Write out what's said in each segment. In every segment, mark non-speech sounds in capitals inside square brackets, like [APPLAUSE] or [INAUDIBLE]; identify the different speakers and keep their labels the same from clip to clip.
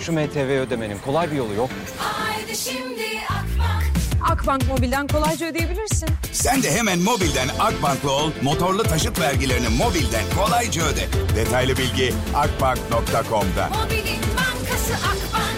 Speaker 1: Şu MTV ödemenin kolay bir yolu yok. mu?
Speaker 2: Haydi şimdi Akbank.
Speaker 3: Akbank Mobil'den kolayca ödeyebilirsin.
Speaker 4: Sen de hemen mobilden Akbank'la ol, motorlu taşıt vergilerini mobilden kolayca öde. Detaylı bilgi akbank.com'da.
Speaker 2: Mobilin bankası Akbank.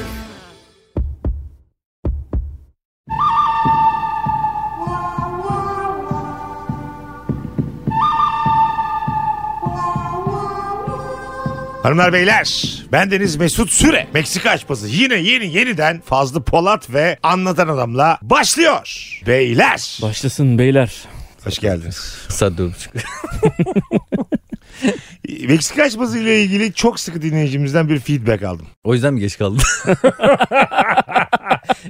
Speaker 5: Hanımlar beyler ben Deniz Mesut Süre Meksika açması yine yeni yeniden Fazlı Polat ve Anlatan Adam'la başlıyor. Beyler
Speaker 6: Başlasın beyler.
Speaker 5: hoş geldiniz.
Speaker 6: Saat dört buçuk.
Speaker 5: [LAUGHS] Meksika açması ile ilgili çok sıkı dinleyicimizden bir feedback aldım.
Speaker 6: O yüzden mi geç kaldın? [LAUGHS]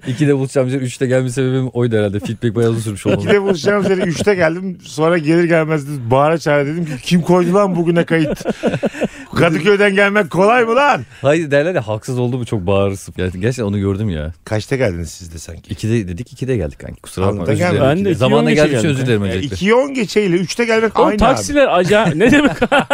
Speaker 6: İkide buluşacağım üzere üçte gelme sebebim oydu herhalde. Feedback bayağı uzun sürmüş
Speaker 5: [LAUGHS] İki
Speaker 6: olmalı.
Speaker 5: de buluşacağım üzere üçte geldim sonra gelir gelmez de bağıra çağıra dedim ki kim koydu lan bugüne
Speaker 7: [LAUGHS]
Speaker 5: kayıt? Kadıköy'den gelmek kolay mı lan?
Speaker 6: Hayır derler ya haksız oldu mu çok bağırırsın. Yani gerçekten onu gördüm ya.
Speaker 5: Kaçta geldiniz siz de sanki?
Speaker 6: İkide dedik ikide geldik kanki. Kusura bakma
Speaker 5: Anlatan
Speaker 6: özür dilerim.
Speaker 5: gelmedi.
Speaker 7: Ben de iki
Speaker 6: Zamanla
Speaker 7: on geçe
Speaker 6: geldiği için
Speaker 7: geldim.
Speaker 6: özür dilerim
Speaker 5: Yani
Speaker 6: öncelikle.
Speaker 5: 2'ye 10 geçeyle 3'te gelmek
Speaker 7: Oğlum
Speaker 5: aynı
Speaker 7: taksiler acayip. Ne demek?
Speaker 5: [LAUGHS] abi.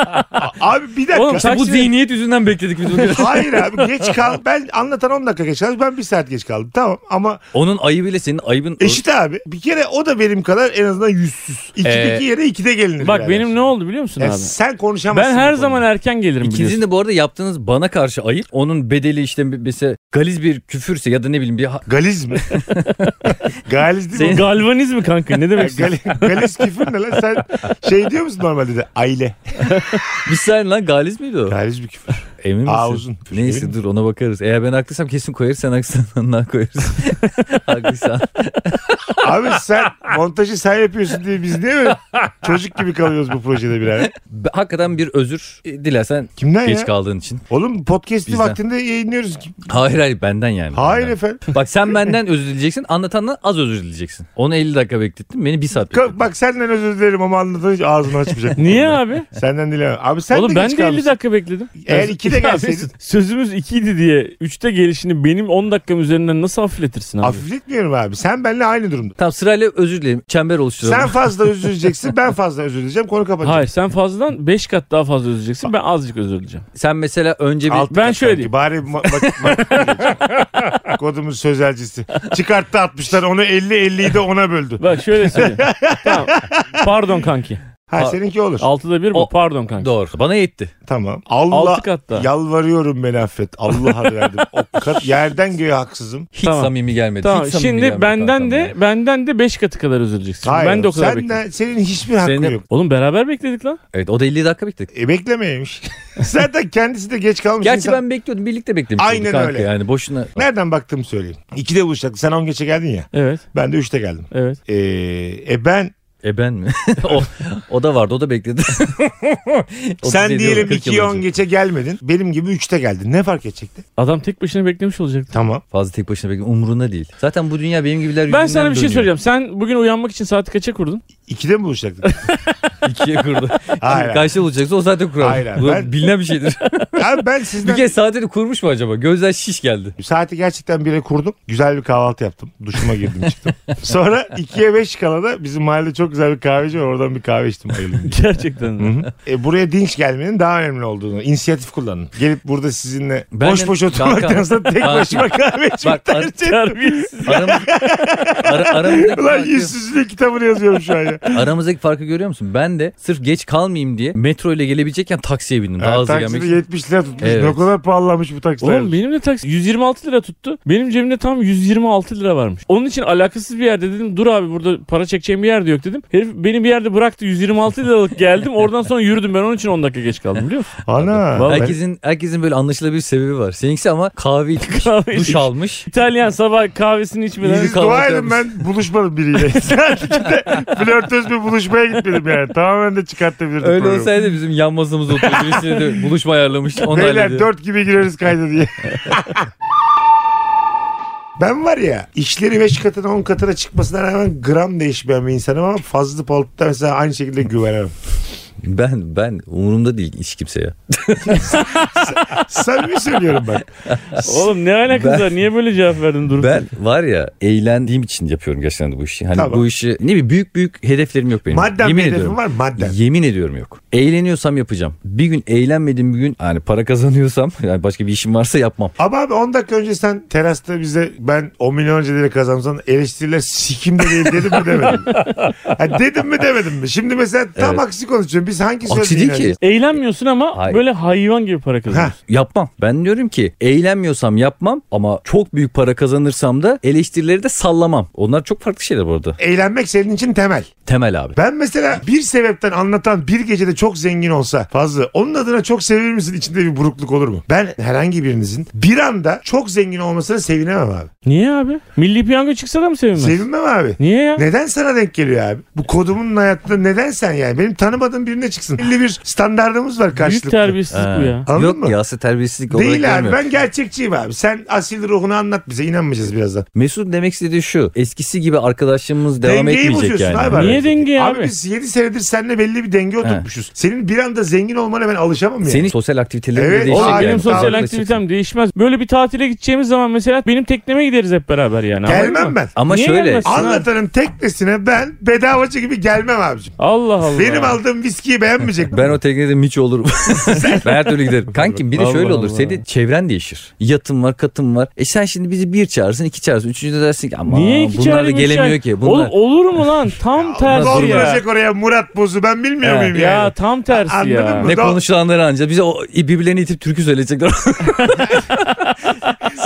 Speaker 5: Abi bir dakika.
Speaker 7: Oğlum
Speaker 6: İşte bu
Speaker 7: taksiler-
Speaker 6: zihniyet yüzünden bekledik
Speaker 5: [LAUGHS]
Speaker 6: biz bugün.
Speaker 5: Hayır abi geç kal. Ben anlatan 10 dakika geç kaldım. Ben bir saat geç kaldım. Tamam ama
Speaker 6: Onun ayıbıyla senin ayıbın...
Speaker 5: eşit abi. Bir kere o da benim kadar en azından yüzsüz. İkideki
Speaker 6: Ee,
Speaker 5: yere ikide gelinir.
Speaker 7: Bak
Speaker 5: birader.
Speaker 7: benim ne oldu biliyor musun
Speaker 5: Ya
Speaker 7: abi?
Speaker 5: Sen konuşamazsın.
Speaker 7: Ben
Speaker 5: bu
Speaker 7: her
Speaker 5: konuda.
Speaker 7: zaman erken gelirim
Speaker 6: İkinizin
Speaker 7: biliyorsun.
Speaker 6: de bu arada yaptığınız bana karşı ayıp. Onun bedeli işte bir- mesela galiz bir küfürse ya da ne bileyim bir ha-
Speaker 5: Galiz
Speaker 7: [LAUGHS]
Speaker 5: mi? Galiz değil mi?
Speaker 7: Galvaniz mi kanka? Ne demek? istiyorsun?
Speaker 5: E, Gal- Galiz küfür ne lan? Sen şey diyor musun normalde de? Aile.
Speaker 6: bir saniye lan galiz miydi o?
Speaker 5: Galiz bir küfür.
Speaker 6: Emin misin?
Speaker 5: Aa, uzun.
Speaker 6: Neyse dur ona bakarız. Eğer ben haklıysam kesin koyarız. Sen haklıysan daha koyarız. [LAUGHS] haklıysan.
Speaker 5: Abi sen montajı sen yapıyorsun diye biz niye böyle çocuk gibi kalıyoruz bu projede birader?
Speaker 6: Be- Hakikaten bir özür e, dilersen
Speaker 5: Kimden
Speaker 6: geç
Speaker 5: ya?
Speaker 6: kaldığın için.
Speaker 5: Oğlum podcast'i
Speaker 6: Bizden.
Speaker 5: vaktinde yayınlıyoruz. ki.
Speaker 6: Hayır hayır benden yani.
Speaker 5: Hayır
Speaker 6: Benden.
Speaker 5: efendim.
Speaker 6: Bak sen benden özür dileyeceksin. Anlatandan az özür dileyeceksin. Onu 50 dakika beklettin. Beni 1 saat beklettin.
Speaker 5: Ka- Bak senden özür dilerim ama anlatan hiç ağzını açmayacak.
Speaker 7: [LAUGHS] [LAUGHS] Niye abi?
Speaker 5: Senden dilemem. Abi sen
Speaker 7: Oğlum
Speaker 5: de
Speaker 7: ben
Speaker 5: geç
Speaker 7: de 50
Speaker 5: kalmışsın.
Speaker 7: dakika bekledim.
Speaker 5: Eğer 2'de
Speaker 7: Ya
Speaker 5: gelseydin
Speaker 7: Mesut, Sözümüz 2'ydi diye 3'te gelişini benim 10 dakikam üzerinden nasıl hafifletirsin abi?
Speaker 5: hafifletmiyorum abi. Sen benimle aynı durumda.
Speaker 6: Tamam sırayla özür dilerim. Çember oluşturalım.
Speaker 5: Sen fazla özür dileyeceksin ben fazla özür dileyeceğim konu kapanacak.
Speaker 7: Hayır sen fazladan 5 kat daha fazla özleyeceksin. Ben azıcık özleyeceğim.
Speaker 6: Sen mesela önce bir...
Speaker 5: Altı
Speaker 7: Ben
Speaker 5: kat
Speaker 7: şöyle
Speaker 5: sanki.
Speaker 7: diyeyim.
Speaker 5: Bari ma- ma-
Speaker 7: [LAUGHS]
Speaker 5: ma- kodumuz sözelcisi. Çıkarttı 60'lar onu 50 50'yi de ona böldü.
Speaker 7: Bak şöyle söyleyeyim.
Speaker 5: [LAUGHS]
Speaker 7: tamam. Pardon kanki.
Speaker 5: Ha
Speaker 6: Aa,
Speaker 5: seninki olur.
Speaker 7: 6'da 1
Speaker 6: O-
Speaker 7: bu. Pardon kanki.
Speaker 6: Doğru. Bana yetti.
Speaker 5: tamam. Allah
Speaker 7: Altı kat daha.
Speaker 5: yalvarıyorum beni affet. Allah'a verdim. O kat, yerden göğe haksızım.
Speaker 6: Hiç
Speaker 7: Tamam.
Speaker 6: samimi gelmedi.
Speaker 7: Tamam
Speaker 6: Hiç samimi
Speaker 7: şimdi
Speaker 6: gelmedi
Speaker 7: benden
Speaker 6: kankam
Speaker 7: de
Speaker 6: ya.
Speaker 7: benden de 5 katı kadar özleyeceksin.
Speaker 5: Hayır.
Speaker 7: Ben de o kadar
Speaker 5: senden-
Speaker 7: bekledim.
Speaker 5: senin hiçbir hakkın
Speaker 6: Senin-
Speaker 5: yok.
Speaker 7: Oğlum beraber bekledik lan.
Speaker 6: Evet o da 50 dakika bekledik.
Speaker 5: E,
Speaker 6: [LAUGHS]
Speaker 5: beklemeymiş. Zaten kendisi de geç kalmış.
Speaker 6: Gerçi
Speaker 5: insan.
Speaker 6: ben bekliyordum. Birlikte beklemiştik.
Speaker 5: Aynen
Speaker 6: kanka.
Speaker 5: öyle.
Speaker 6: Yani boşuna...
Speaker 5: Nereden baktığımı söyleyeyim. 2'de buluşacaktık. Sen 10 geçe geldin ya.
Speaker 7: Evet.
Speaker 5: Ben de 3'te geldim.
Speaker 7: Evet.
Speaker 5: Ee, e ben
Speaker 6: E ben mi? [LAUGHS] o, o da vardı o
Speaker 7: [LAUGHS]
Speaker 6: da bekledi.
Speaker 5: sen
Speaker 6: 37
Speaker 5: diyelim
Speaker 6: yıl, 40 yıl
Speaker 5: 2'ye 10
Speaker 6: önce.
Speaker 5: geçe gelmedin. Benim gibi 3'te geldin. Ne fark edecekti?
Speaker 7: Adam tek başına beklemiş olacaktı.
Speaker 5: Tamam.
Speaker 6: Fazla tek başına bekliyor. Umrunda değil. Zaten bu dünya benim gibiler
Speaker 7: Ben
Speaker 6: yüzünden
Speaker 7: sana bir şey
Speaker 6: dönüyor.
Speaker 7: söyleyeceğim. Sen bugün uyanmak için saati kaça kurdun?
Speaker 5: 2'de mi buluşacaktık?
Speaker 6: [LAUGHS]
Speaker 5: [LAUGHS]
Speaker 6: İkiye kurdu.
Speaker 5: Hayır.
Speaker 6: Karşı olacaksa o zaten kurar.
Speaker 5: Hayır,
Speaker 6: Bu
Speaker 5: [LAUGHS] ben-
Speaker 6: bilinen bir şeydir.
Speaker 5: Abi ben
Speaker 6: bir
Speaker 5: sizden
Speaker 6: kez saatini kurmuş mu acaba? Gözler şiş geldi.
Speaker 5: saati gerçekten 1'e kurdum. Güzel bir kahvaltı yaptım. Duşuma girdim çıktım. Sonra 2'ye 5 kala da bizim mahallede çok güzel bir kahveci var. Oradan bir kahve içtim bayıldım. diye.
Speaker 7: Gerçekten.
Speaker 5: E, buraya dinç gelmenin daha önemli olduğunu, inisiyatif kullanın. Gelip burada sizinle
Speaker 6: Ben
Speaker 5: boş
Speaker 6: de-
Speaker 5: boş
Speaker 6: Kanka-
Speaker 5: oturmaktansa tek
Speaker 6: Kanka-
Speaker 5: başıma kahve içmeyi
Speaker 6: Bak, ar-
Speaker 5: tercih ettim.
Speaker 7: [LAUGHS] Terbiyesiz.
Speaker 6: Aramız, ara- aramızdaki,
Speaker 5: Ulan
Speaker 6: farkı,
Speaker 5: yüzsüzlüğü kitabını yazıyorum şu an ya.
Speaker 6: aramızdaki farkı görüyor musun? Ben de sırf geç kalmayayım diye metro ile gelebilecekken taksiye bindim. Daha
Speaker 5: Ha,
Speaker 6: hızlı
Speaker 5: takside
Speaker 6: gelmek için.
Speaker 5: 70 lira tutmuş.
Speaker 6: Evet.
Speaker 5: Ne kadar pahalanmış bu taksiler.
Speaker 7: Oğlum benim de taksi 126 lira tuttu. Benim cebimde tam 126 lira varmış. Onun için alakasız bir yerde dedim dur abi burada para çekeceğim bir yer de yok dedim. Herif beni bir yerde bıraktı 126 liralık geldim. Oradan sonra yürüdüm ben onun için 10 dakika geç kaldım biliyor musun?
Speaker 5: Ana.
Speaker 7: Vallahi-
Speaker 6: Herkesin, herkesin böyle anlaşılabilir sebebi var. Seninkisi ama kahve
Speaker 5: [LAUGHS]
Speaker 6: içmiş,
Speaker 7: Kahve
Speaker 6: duş
Speaker 7: içmiş.
Speaker 6: almış.
Speaker 7: İtalyan sabah kahvesini içmeden
Speaker 5: Siz dua edin ben buluşmadım biriyle. [LAUGHS] Sadece flörtöz bir buluşmaya gitmedim yani. Tamamen de çıkartabilirdim
Speaker 6: Öyle
Speaker 5: programı.
Speaker 6: olsaydı bizim yan masamızda oturuyor. Birisiyle de buluşma ayarlamış. Onu
Speaker 5: Beyler
Speaker 6: hallediyor.
Speaker 5: dört gibi gireriz kayda diye. [LAUGHS] Ben var ya işleri 5 katına 10 [LAUGHS] katına çıkmasına rağmen gram değişmeyen bir insanım ama fazla Polat'ta mesela aynı şekilde güvenemem.
Speaker 6: Ben ben umurumda değil hiç kimse ya.
Speaker 5: Samimi söylüyorum bak.
Speaker 7: Oğlum ne alakası var? Niye böyle cevap verdin Durup?
Speaker 6: Ben var ya eğlendiğim için yapıyorum gerçekten de bu işi. Hani
Speaker 5: Tamam.
Speaker 6: bu işi ne bileyim büyük büyük hedeflerim yok benim.
Speaker 5: Madden
Speaker 6: Yemin
Speaker 5: bir hedefin
Speaker 6: ediyorum.
Speaker 5: var mı? Madden.
Speaker 6: Yemin ediyorum yok. Eğleniyorsam yapacağım. Bir gün eğlenmediğim bir gün hani para kazanıyorsam [LAUGHS] yani başka bir işim varsa yapmam.
Speaker 5: Ama abi 10 dakika önce sen terasta bize ben 10 milyon önce lira kazansam eleştiriler sikimde değil dedim mi demedim. [LAUGHS] Ha, dedim mi demedim mi? Şimdi mesela tam
Speaker 6: Evet.
Speaker 5: aksi konuşuyorum. Biz hangi sözü
Speaker 6: Aksi değil ki.
Speaker 5: inanıyoruz?
Speaker 7: Eğlenmiyorsun ama
Speaker 6: Hayır.
Speaker 7: böyle hayvan gibi para kazanıyorsun.
Speaker 6: Yapmam. Ben diyorum ki eğlenmiyorsam yapmam ama çok büyük para kazanırsam da eleştirileri de sallamam. Onlar çok farklı şeyler bu arada.
Speaker 5: Eğlenmek senin için temel.
Speaker 6: Temel abi.
Speaker 5: Ben mesela bir sebepten anlatan bir gecede çok zengin olsa fazla onun adına çok sevinir misin içinde bir burukluk olur mu? Ben herhangi birinizin bir anda çok zengin olmasına sevinemem abi.
Speaker 7: Niye abi? Milli piyango çıksa da mı sevinmez?
Speaker 5: Sevinmem abi.
Speaker 7: Niye ya?
Speaker 5: Neden sana denk geliyor abi? Bu kodumun hayatında neden sen yani? Benim tanımadığım birine çıksın. Belli bir standardımız var
Speaker 7: Büyük
Speaker 5: karşılıklı.
Speaker 7: terbiyesizlik bu ya.
Speaker 5: Anladın
Speaker 6: Yok
Speaker 5: mı?
Speaker 6: ya aslında terbiyesizlik olarak
Speaker 5: Değil abi
Speaker 6: görmüyorum.
Speaker 5: ben gerçekçiyim abi. Sen asil ruhunu anlat bize inanmayacağız birazdan.
Speaker 6: Mesut'un demek istediği şu. Eskisi gibi arkadaşlığımız devam
Speaker 5: Dengeyi
Speaker 6: etmeyecek
Speaker 5: bozuyorsun
Speaker 6: yani.
Speaker 5: abi.
Speaker 7: Niye denge
Speaker 5: Abi
Speaker 7: abi?
Speaker 5: biz 7 senedir seninle belli bir denge oturtmuşuz. Senin bir anda zengin olmana ben alışamam yani.
Speaker 6: Senin sosyal aktivitelerin
Speaker 5: Evet,
Speaker 6: de değişecek.
Speaker 5: oğlum
Speaker 7: Oğlum
Speaker 6: yani.
Speaker 7: benim sosyal
Speaker 6: Farklılaşacak.
Speaker 7: aktivitem değişmez. Böyle bir tatile gideceğimiz zaman mesela benim tekneme gideriz hep beraber yani.
Speaker 5: Gelmem
Speaker 7: Anladın mı?
Speaker 5: ben.
Speaker 6: Ama
Speaker 7: Niye
Speaker 6: şöyle
Speaker 7: gelmezsin?
Speaker 5: Anlatanın teknesine ben bedavacı gibi gelmem abicim.
Speaker 7: Allah Allah.
Speaker 5: Benim aldığım viskiyi beğenmeyecek.
Speaker 6: ben o teknede
Speaker 5: [LAUGHS]
Speaker 6: miç olurum. ben her türlü giderim. Kankim bir de
Speaker 7: Allah
Speaker 6: şöyle olur.
Speaker 7: Allah.
Speaker 6: Senin çevren değişir. Yatın var katın var. E sen şimdi bizi bir çağırsın iki çağırsın. Üçüncü de dersin ki ama
Speaker 7: Niye iki
Speaker 6: bunlar da
Speaker 7: çağırayım, üç
Speaker 6: gelemiyor
Speaker 7: çağırayım?
Speaker 6: ki. Bunlar...
Speaker 7: Oğlum olur mu lan?
Speaker 5: [LAUGHS]
Speaker 7: Tam tersi ya.
Speaker 5: Dolduracak oraya Murat Boz'u ben bilmiyor
Speaker 6: He.
Speaker 5: şey muyum yani?
Speaker 7: Ya tam tersi
Speaker 5: Anladın
Speaker 7: ya.
Speaker 5: mı?
Speaker 6: Ne
Speaker 5: Da-
Speaker 6: konuşulanları anca bize o birbirlerini itip
Speaker 5: [LAUGHS]
Speaker 6: türkü söyleyecekler.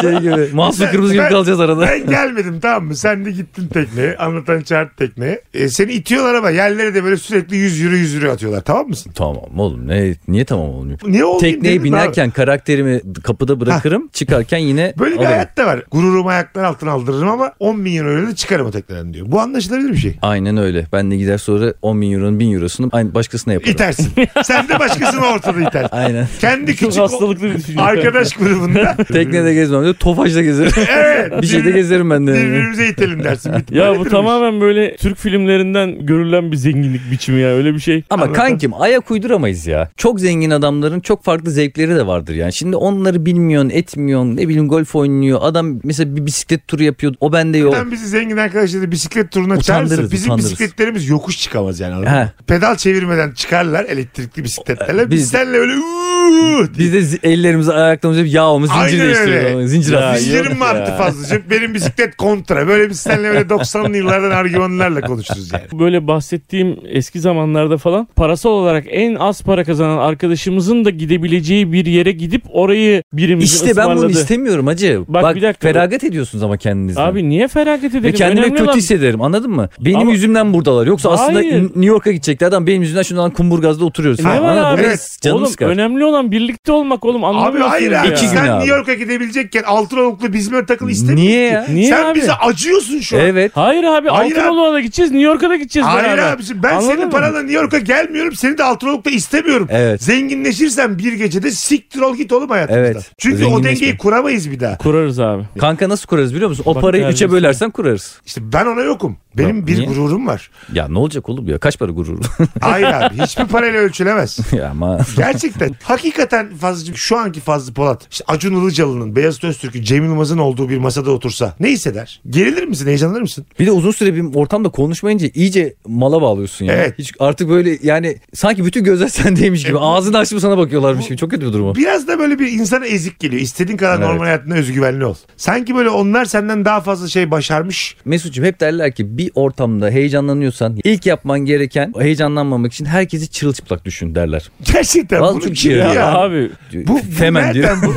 Speaker 6: şey gibi. Mahsun
Speaker 5: Ben-
Speaker 6: Kırmızı gibi
Speaker 5: ben-
Speaker 6: kalacağız arada.
Speaker 5: Ben gelmedim tamam mı? Sen de gittin tekneye. Anlatan çağırdı tekneye. E, seni itiyorlar ama yerlere de böyle sürekli 100 euro 100 euro atıyorlar. Tamam mısın?
Speaker 6: Tamam oğlum ne niye tamam olmuyor?
Speaker 5: Ne oldu?
Speaker 6: Tekneye binerken karakterimi kapıda bırakırım. Çıkarken yine
Speaker 5: Böyle bir
Speaker 6: alırım.
Speaker 5: hayat da var. Gururumu ayaklar altına aldırırım ama 10 milyon euro da çıkarım o tekneden diyor. Bu anlaşılabilir bir şey.
Speaker 6: Aynen öyle. Ben de gider sonra 10 bin euronun 1000 eurosunu aynı başkasına yaparım. [LAUGHS]
Speaker 5: İtersin. Sen de başkasını ortada itersin.
Speaker 6: Aynen.
Speaker 5: Kendi
Speaker 7: Çok
Speaker 5: küçük o-
Speaker 7: hastalıklı bir düşünce.
Speaker 5: arkadaş grubunda
Speaker 6: [LAUGHS] Teknede gezmem diyor. Tofaş'la gezerim. [LAUGHS]
Speaker 5: Evet.
Speaker 6: bir şeyde gezerim ben de. yani.
Speaker 5: birbirimize itelim dersin.
Speaker 6: [LAUGHS]
Speaker 5: Bitti.
Speaker 7: Ya bu
Speaker 5: Böyledir
Speaker 7: tamamen böyle Türk filmlerinden görülen bir zenginlik biçimi ya öyle bir şey.
Speaker 6: Ama kankim ayak uyduramayız ya. Çok zengin adamların çok farklı zevkleri de vardır yani. Şimdi onları bilmiyorsun, etmiyorsun. Ne bileyim golf oynuyor. Adam mesela bir bisiklet turu yapıyor. O bende yok.
Speaker 5: Sen bizi zengin arkadaşları bisiklet turuna
Speaker 6: Utandırırız,
Speaker 5: çağırırsa bizim
Speaker 6: utandırırız.
Speaker 5: bisikletlerimiz yokuş çıkamaz yani. anladın mı?
Speaker 6: He. Ee,
Speaker 5: Pedal çevirmeden çıkarlar elektrikli bisikletlerle. Biz,
Speaker 6: Biz-
Speaker 5: senle öyle "Uuu!"
Speaker 6: Biz de zi- ellerimizi ayaklarımızı hep yağımız zincir
Speaker 5: Aynen öyle.
Speaker 6: değiştiriyoruz. Zincir
Speaker 7: Ya,
Speaker 6: atıyoruz.
Speaker 5: Zincirin mantı fazlaca. Benim bisiklet kontra. Böyle biz seninle böyle 90'lı yıllardan argümanlarla konuşuruz yani.
Speaker 7: Böyle bahsettiğim eski zamanlarda falan parasal olarak en az para kazanan arkadaşımızın da gidebileceği bir yere gidip orayı birimizin
Speaker 6: İşte ben bunu
Speaker 7: ısmarladı.
Speaker 6: istemiyorum hacı. Bak,
Speaker 7: Bak, bir dakika.
Speaker 6: feragat ediyorsunuz ama kendinizden.
Speaker 7: Abi niye feragat edelim?
Speaker 6: Ve kendimi
Speaker 7: Önemli
Speaker 6: kötü
Speaker 7: olan-
Speaker 6: hissederim anladın mı? Benim
Speaker 7: Ama-
Speaker 6: yüzümden buradalar. Yoksa aslında
Speaker 7: Hayır. E
Speaker 6: N- New York'a gidecekti adam benim yüzümden şundan kumburgazda oturuyoruz.
Speaker 7: Ne var
Speaker 6: Anladın mı?
Speaker 7: abi?
Speaker 6: Biraz Canım
Speaker 7: oğlum
Speaker 6: sıkar.
Speaker 7: önemli olan birlikte olmak oğlum
Speaker 5: Abi
Speaker 7: anlamıyorsunuz
Speaker 5: hayır
Speaker 7: ya.
Speaker 5: abi.
Speaker 6: İki gün
Speaker 5: Sen
Speaker 6: abi.
Speaker 5: New York'a gidebilecekken altın oluklu bizimle takıl istemiyorsun.
Speaker 6: Niye
Speaker 5: ki.
Speaker 6: ya?
Speaker 7: Niye
Speaker 5: Sen
Speaker 7: abi?
Speaker 5: bize acıyorsun şu an.
Speaker 6: Evet.
Speaker 7: Hayır abi
Speaker 5: Hayır abi.
Speaker 7: Altınoluk'a da gideceğiz New York'a da gideceğiz
Speaker 5: Hayır
Speaker 7: beraber.
Speaker 5: abiciğim ben
Speaker 7: Anladın
Speaker 5: senin
Speaker 7: mı?
Speaker 5: paranla New York'a gelmiyorum. Seni de Altınoluk'ta istemiyorum.
Speaker 6: Evet.
Speaker 5: Zenginleşirsen bir gecede siktir ol git oğlum hayatımızdan.
Speaker 6: Evet.
Speaker 5: Çünkü o
Speaker 6: Zenginleşme.
Speaker 5: dengeyi kuramayız bir daha.
Speaker 7: Kurarız abi.
Speaker 6: Kanka nasıl kurarız biliyor musun? O
Speaker 7: Bak
Speaker 6: parayı
Speaker 7: neredeyse.
Speaker 6: üçe bölersen kurarız.
Speaker 5: İşte ben ona yokum. Benim
Speaker 6: Ya,
Speaker 5: bir
Speaker 6: niye?
Speaker 5: gururum var.
Speaker 6: Ya ne olacak oğlum ya? Kaç para gurur? [LAUGHS]
Speaker 5: Hayır abi hiçbir parayla ölçülemez.
Speaker 6: ya ama
Speaker 5: Gerçekten. Hakikaten Fazlıcığım şu anki Fazlı Polat. işte Acun Ilıcalı'nın, Beyazıt Öztürk'ün, Cem Yılmaz'ın olduğu bir masada otursa ne hisseder? Gerilir misin? Heyecanlanır mısın?
Speaker 6: bir de uzun süre bir ortamda konuşmayınca iyice mala bağlıyorsun ya.
Speaker 5: Evet.
Speaker 6: Hiç artık böyle yani sanki bütün gözler [LAUGHS] sendeymiş gibi. Ağzını açıp sana bakıyorlarmış gibi. Çok kötü bir durum o.
Speaker 5: Biraz da böyle bir insana ezik geliyor. İstediğin kadar
Speaker 6: Evet.
Speaker 5: normal hayatında özgüvenli ol. Sanki böyle onlar senden daha fazla şey başarmış.
Speaker 6: Mesut'cum hep derler ki bir ortamda heyecanlanıyorsan ilk yapman gereken heyecanlanmamak için herkesi çırılçıplak düşün derler.
Speaker 5: Gerçekten.
Speaker 6: Vallahi
Speaker 5: bunu
Speaker 6: çok
Speaker 5: kim
Speaker 6: iyi
Speaker 7: Ya,
Speaker 6: Ya.
Speaker 7: abi
Speaker 6: [LAUGHS]
Speaker 5: Bu, bu
Speaker 6: Femen diyor.
Speaker 5: nereden bu?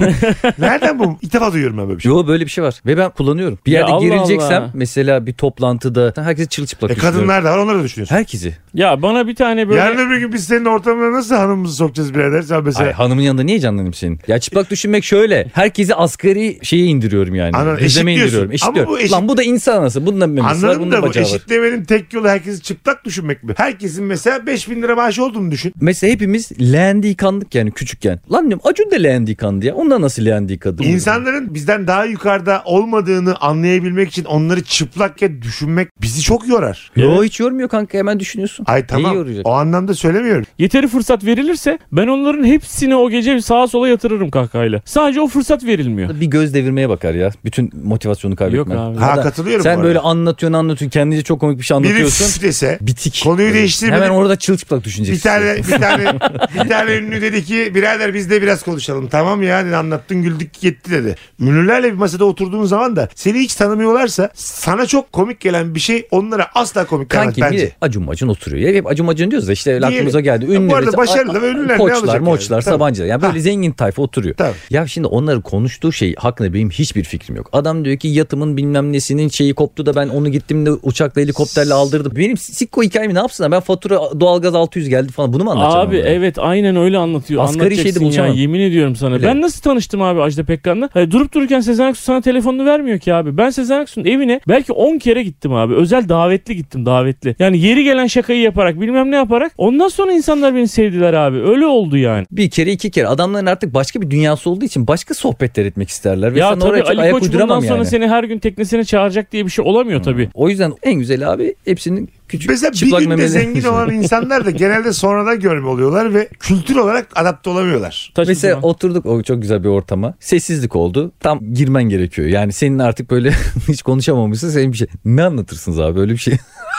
Speaker 5: Nereden bu? İlk defa duyuyorum ben böyle bir şey.
Speaker 6: Yo böyle bir şey var ve ben kullanıyorum. Bir
Speaker 7: Ya
Speaker 6: yerde
Speaker 7: Allah
Speaker 6: gerileceksem
Speaker 7: Allah.
Speaker 6: mesela bir toplantıda herkesi çırılçıplak
Speaker 5: E,
Speaker 6: düşünüyorum.
Speaker 5: kadınlar da var onları da düşünüyorsun.
Speaker 6: Herkesi.
Speaker 7: ya bana bir tane böyle
Speaker 5: Yarın öbür gün biz senin ortamına nasıl hanımımızı sokacağız birader? Sen mesela
Speaker 6: Ay, hanımın yanında niye canlanayım senin? Ya çıplak düşünmek şöyle. Herkesi asgari şeye indiriyorum yani.
Speaker 5: Anladım,
Speaker 6: Düzleme
Speaker 5: eşitliyorsun.
Speaker 6: indiriyorum.
Speaker 5: Ama
Speaker 6: Eşitliyorum.
Speaker 5: bu eşit-
Speaker 6: Lan bu da insan anası. Bunun da memesi var.
Speaker 5: anladım
Speaker 6: Bunun
Speaker 5: da
Speaker 6: da
Speaker 5: bu
Speaker 6: alacağı var.
Speaker 5: eşitlemenin tek yolu herkesi çıplak düşünmek mi? Herkesin mesela 5000 lira maaşı olduğunu düşün.
Speaker 6: Mesela hepimiz leğende yıkandık yani küçükken. Lan diyorum Acun da leğende yıkandı ya. Ondan nasıl leğende yıkadı?
Speaker 5: İnsanların bizden daha yukarıda olmadığını anlayabilmek için onları çıplakken düşünmek bizi çok yorar.
Speaker 6: Yo hiç yormuyor kanka hemen düşünüyorsun.
Speaker 5: Ay
Speaker 6: Neyi
Speaker 5: tamam
Speaker 6: yoracak?
Speaker 5: o anlamda söylemiyorum.
Speaker 7: Yeteri fırsat verilirse ben onların hepsini o gece sağa sola yatırırım kahkahayla. Sadece o fırsat verilmiyor.
Speaker 6: Bir göz devirmeye bakar ya. Bütün motivasyonu kaybetmen.
Speaker 7: Yok abi.
Speaker 5: Ha
Speaker 6: Ya da
Speaker 5: katılıyorum bu
Speaker 6: Sen
Speaker 5: arada.
Speaker 6: böyle anlatıyorsun anlatıyorsun. Kendince çok komik bir şey
Speaker 5: Biri
Speaker 6: anlatıyorsun.
Speaker 5: üf dese
Speaker 6: Bitik.
Speaker 5: Konuyu değiştirmedim.
Speaker 6: Hemen orada çılçıplak
Speaker 5: bir
Speaker 6: düşüneceksin.
Speaker 5: tane bir tane
Speaker 6: [LAUGHS]
Speaker 5: bir tane ünlü dedi ki birader biz de biraz konuşalım. Tamam ya dedi anlattın güldük yetti dedi. Ünlülerle bir masada oturduğun zaman da seni hiç tanımıyorlarsa sana çok komik gelen bir şey onlara asla komik gelmez
Speaker 6: Kanki
Speaker 5: bence.
Speaker 6: biri acun macun oturuyor. Ya hep acun macun diyoruz da işte öyle
Speaker 5: Diyelim.
Speaker 6: aklımıza geldi. Ünlü
Speaker 5: Bu arada
Speaker 6: birisi-
Speaker 5: başarılı
Speaker 6: a-
Speaker 5: ve ünlüler ne alacak
Speaker 6: Koçlar,
Speaker 5: yani?
Speaker 6: moçlar,
Speaker 5: Tabii.
Speaker 6: sabancılar. Yani böyle
Speaker 5: Ha.
Speaker 6: zengin tayfa oturuyor.
Speaker 5: Tabii.
Speaker 6: Ya şimdi onların konuştuğu şey hakkında benim hiçbir fikrim yok. Adam diyor ki yatımın bilmem nesinin şeyi koptu da ben onu gittim de uçakla helikopterle aldırdım. Benim sikko hikayemi ne yapsınlar? Ben fatura doğalgaz 600 geldi falan bunu mu anlatacağım?
Speaker 7: Abi
Speaker 6: onlara?
Speaker 7: evet aynen öyle anlatıyor.
Speaker 6: Asgari
Speaker 7: Anlatacaksın
Speaker 6: şeyde
Speaker 7: ya
Speaker 6: buluşamam.
Speaker 7: yemin ediyorum sana.
Speaker 6: Öyle.
Speaker 7: Ben nasıl tanıştım abi Ajda Pekkan'la? Hayır, durup dururken Sezen Aksu sana telefonunu vermiyor ki abi. Ben Sezen Aksu'nun evine belki 10 kere gittim abi. Özel davetli gittim davetli. Yani yeri gelen şakayı yaparak bilmem ne yaparak. Ondan sonra insanlar beni sevdiler abi. Öyle oldu yani.
Speaker 6: Bir kere iki kere adamların artık başka bir dünyası olduğu için başka sohbetler etmek isterler. Ve
Speaker 7: ya
Speaker 6: sen
Speaker 7: tabii
Speaker 6: oraya çok
Speaker 7: Ali
Speaker 6: ayak
Speaker 7: Koç bundan
Speaker 6: uyduramam
Speaker 7: sonra
Speaker 6: yani. Hmm.
Speaker 7: seni her gün teknesine çağıracak diye bir şey olamıyor tabii.
Speaker 6: O yüzden en güzel abi hepsinin küçük
Speaker 5: Mesela bir
Speaker 6: çıplak
Speaker 5: günde
Speaker 6: memeli-
Speaker 5: zengin
Speaker 6: [LAUGHS]
Speaker 5: olan insanlar da genelde sonradan görme oluyorlar ve kültür olarak adapte olamıyorlar.
Speaker 7: Taş
Speaker 6: Mesela
Speaker 7: o zaman.
Speaker 6: oturduk o çok güzel bir ortama. Sessizlik oldu. Tam girmen gerekiyor. Yani senin artık böyle [LAUGHS] hiç konuşamamışsın. Senin bir şey. Ne anlatırsınız abi öyle bir şey?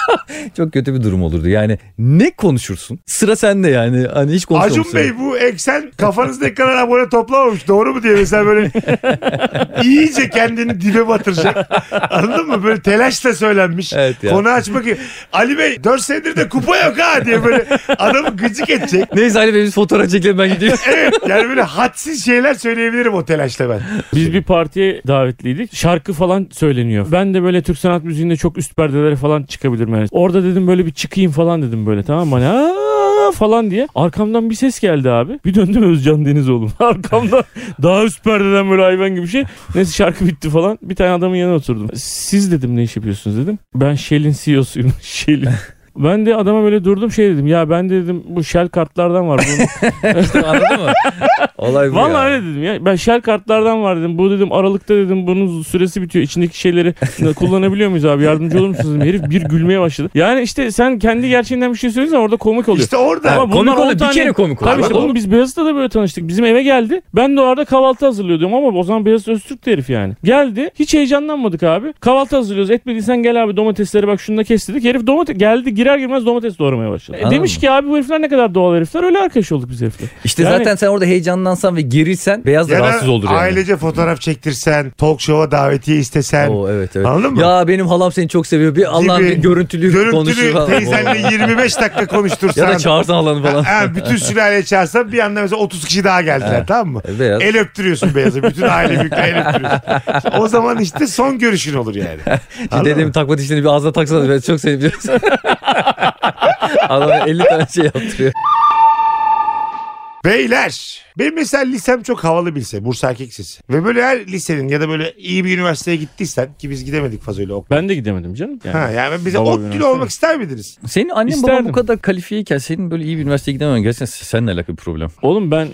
Speaker 6: [LAUGHS] çok kötü bir durum olurdu. Yani ne konuşursun? Sıra sende yani. Hani hiç konuşamamışsın.
Speaker 5: Acun Bey bu eksen kafanızdaki kadar abone toplamamış doğru mu diye mesela
Speaker 6: [LAUGHS]
Speaker 5: böyle iyice kendini dibe batıracak. Anladın mı? Böyle telaşla söylenmiş.
Speaker 6: Evet ya.
Speaker 5: Konu açmak gibi. Ali Bey 4 senedir de kupa yok ha diye böyle adamı gıcık edecek.
Speaker 6: Neyse Ali Bey biz fotoğraf çekelim ben
Speaker 7: [LAUGHS]
Speaker 6: gidiyorum.
Speaker 5: Evet yani böyle hadsiz şeyler söyleyebilirim o telaşla ben.
Speaker 7: Biz bir partiye davetliydik. Şarkı falan söyleniyor. Ben de böyle Türk sanat müziğinde çok üst perdelere falan çıkabilirim yani. Orada dedim böyle bir çıkayım falan dedim böyle tamam mı? Hani, "Aa!" falan diye. Arkamdan bir ses geldi abi. Bir döndüm Özcan Denizoğlu. [LAUGHS] Arkamdan daha üst perdeden böyle hayvan gibi bir şey. Neyse şarkı bitti falan. Bir tane adamın yanına oturdum. Siz dedim ne iş yapıyorsunuz dedim. Ben Shell'in [LAUGHS] CEO'suyum. Shell'in. Ben de adama böyle durdum şey dedim. Ya ben de dedim bu Shell kartlardan var. Bunu
Speaker 6: Anladın mı? Olay bu
Speaker 7: Vallahi
Speaker 6: ya.
Speaker 7: öyle dedim ya. Ben şel kartlardan var dedim. Bu dedim Aralık'ta dedim bunun süresi bitiyor. İçindeki şeyleri kullanabiliyor muyuz abi? Yardımcı olur musunuz dedim. Herif bir gülmeye başladı. Yani işte sen kendi gerçeğinden bir şey söylüyorsan orada komik oluyor.
Speaker 5: İşte orada
Speaker 7: Ama bunlar
Speaker 6: komik
Speaker 7: on
Speaker 6: oluyor. Bir
Speaker 7: tane-
Speaker 6: kere komik oluyor.
Speaker 7: Tabii işte
Speaker 6: Bak,
Speaker 7: oğlum biz Beyazıt'ta da böyle tanıştık. Bizim eve geldi. Ben de orada kahvaltı hazırlıyordum ama o zaman Beyazıt Öztürk de herif yani. Geldi. Hiç heyecanlanmadık abi. Kahvaltı hazırlıyoruz. Etmediysen gel abi domatesleri bak şunu da kes dedik. Herif domates geldi girer girmez domates doğramaya başladı. E,
Speaker 6: Anladın
Speaker 7: demiş
Speaker 6: mı?
Speaker 7: ki abi bu herifler ne kadar doğal herifler. Öyle arkadaş olduk biz herifle.
Speaker 6: İşte
Speaker 7: Yani-
Speaker 6: zaten sen orada heyecanlansan ve gerilsen beyaz da
Speaker 5: Ya da
Speaker 6: rahatsız olur yani.
Speaker 5: Ailece fotoğraf çektirsen, talk show'a davetiye istesen.
Speaker 6: Oo, evet, evet.
Speaker 5: Anladın mı?
Speaker 6: Ya benim halam seni çok seviyor. Bir Allah'ım
Speaker 5: Gibi.
Speaker 6: bir görüntülü, konuşur
Speaker 5: Görüntülü
Speaker 6: falan.
Speaker 5: teyzenle 25 dakika konuştursan.
Speaker 6: Ya da çağırsan halanı
Speaker 5: [LAUGHS]
Speaker 6: falan.
Speaker 5: Ha, bütün sülaleyi çağırsan bir anda mesela 30 kişi daha geldiler tamam mı?
Speaker 6: Beyaz.
Speaker 5: El öptürüyorsun beyazı. Bütün aile büyükle el öptürüyorsun. O zaman işte son görüşün olur yani.
Speaker 6: Şimdi
Speaker 5: Anladın
Speaker 6: dedemin
Speaker 5: mı?
Speaker 6: takma dişlerini bir ağzına taksana ben çok seviyorum. Adam 50 tane şey yaptırıyor.
Speaker 5: Beyler. Benim mesela lisem çok havalı bir lise. Bursa Erkek Lisesi. Ve böyle her lisenin ya da böyle iyi bir üniversiteye gittiysen ki biz gidemedik fazla öyle okula.
Speaker 7: Ben de gidemedim canım. Yani.
Speaker 5: Ha, yani bize
Speaker 7: Baba bir
Speaker 5: ot gülü
Speaker 7: üniversite
Speaker 5: olmak ister
Speaker 7: [LAUGHS]
Speaker 5: miydiniz?
Speaker 6: Senin annen baban
Speaker 7: İsterdim.
Speaker 6: bu kadar kalifiyeyken senin böyle iyi bir üniversiteye gidememen gerçekten seninle alakalı bir problem.
Speaker 7: Oğlum ben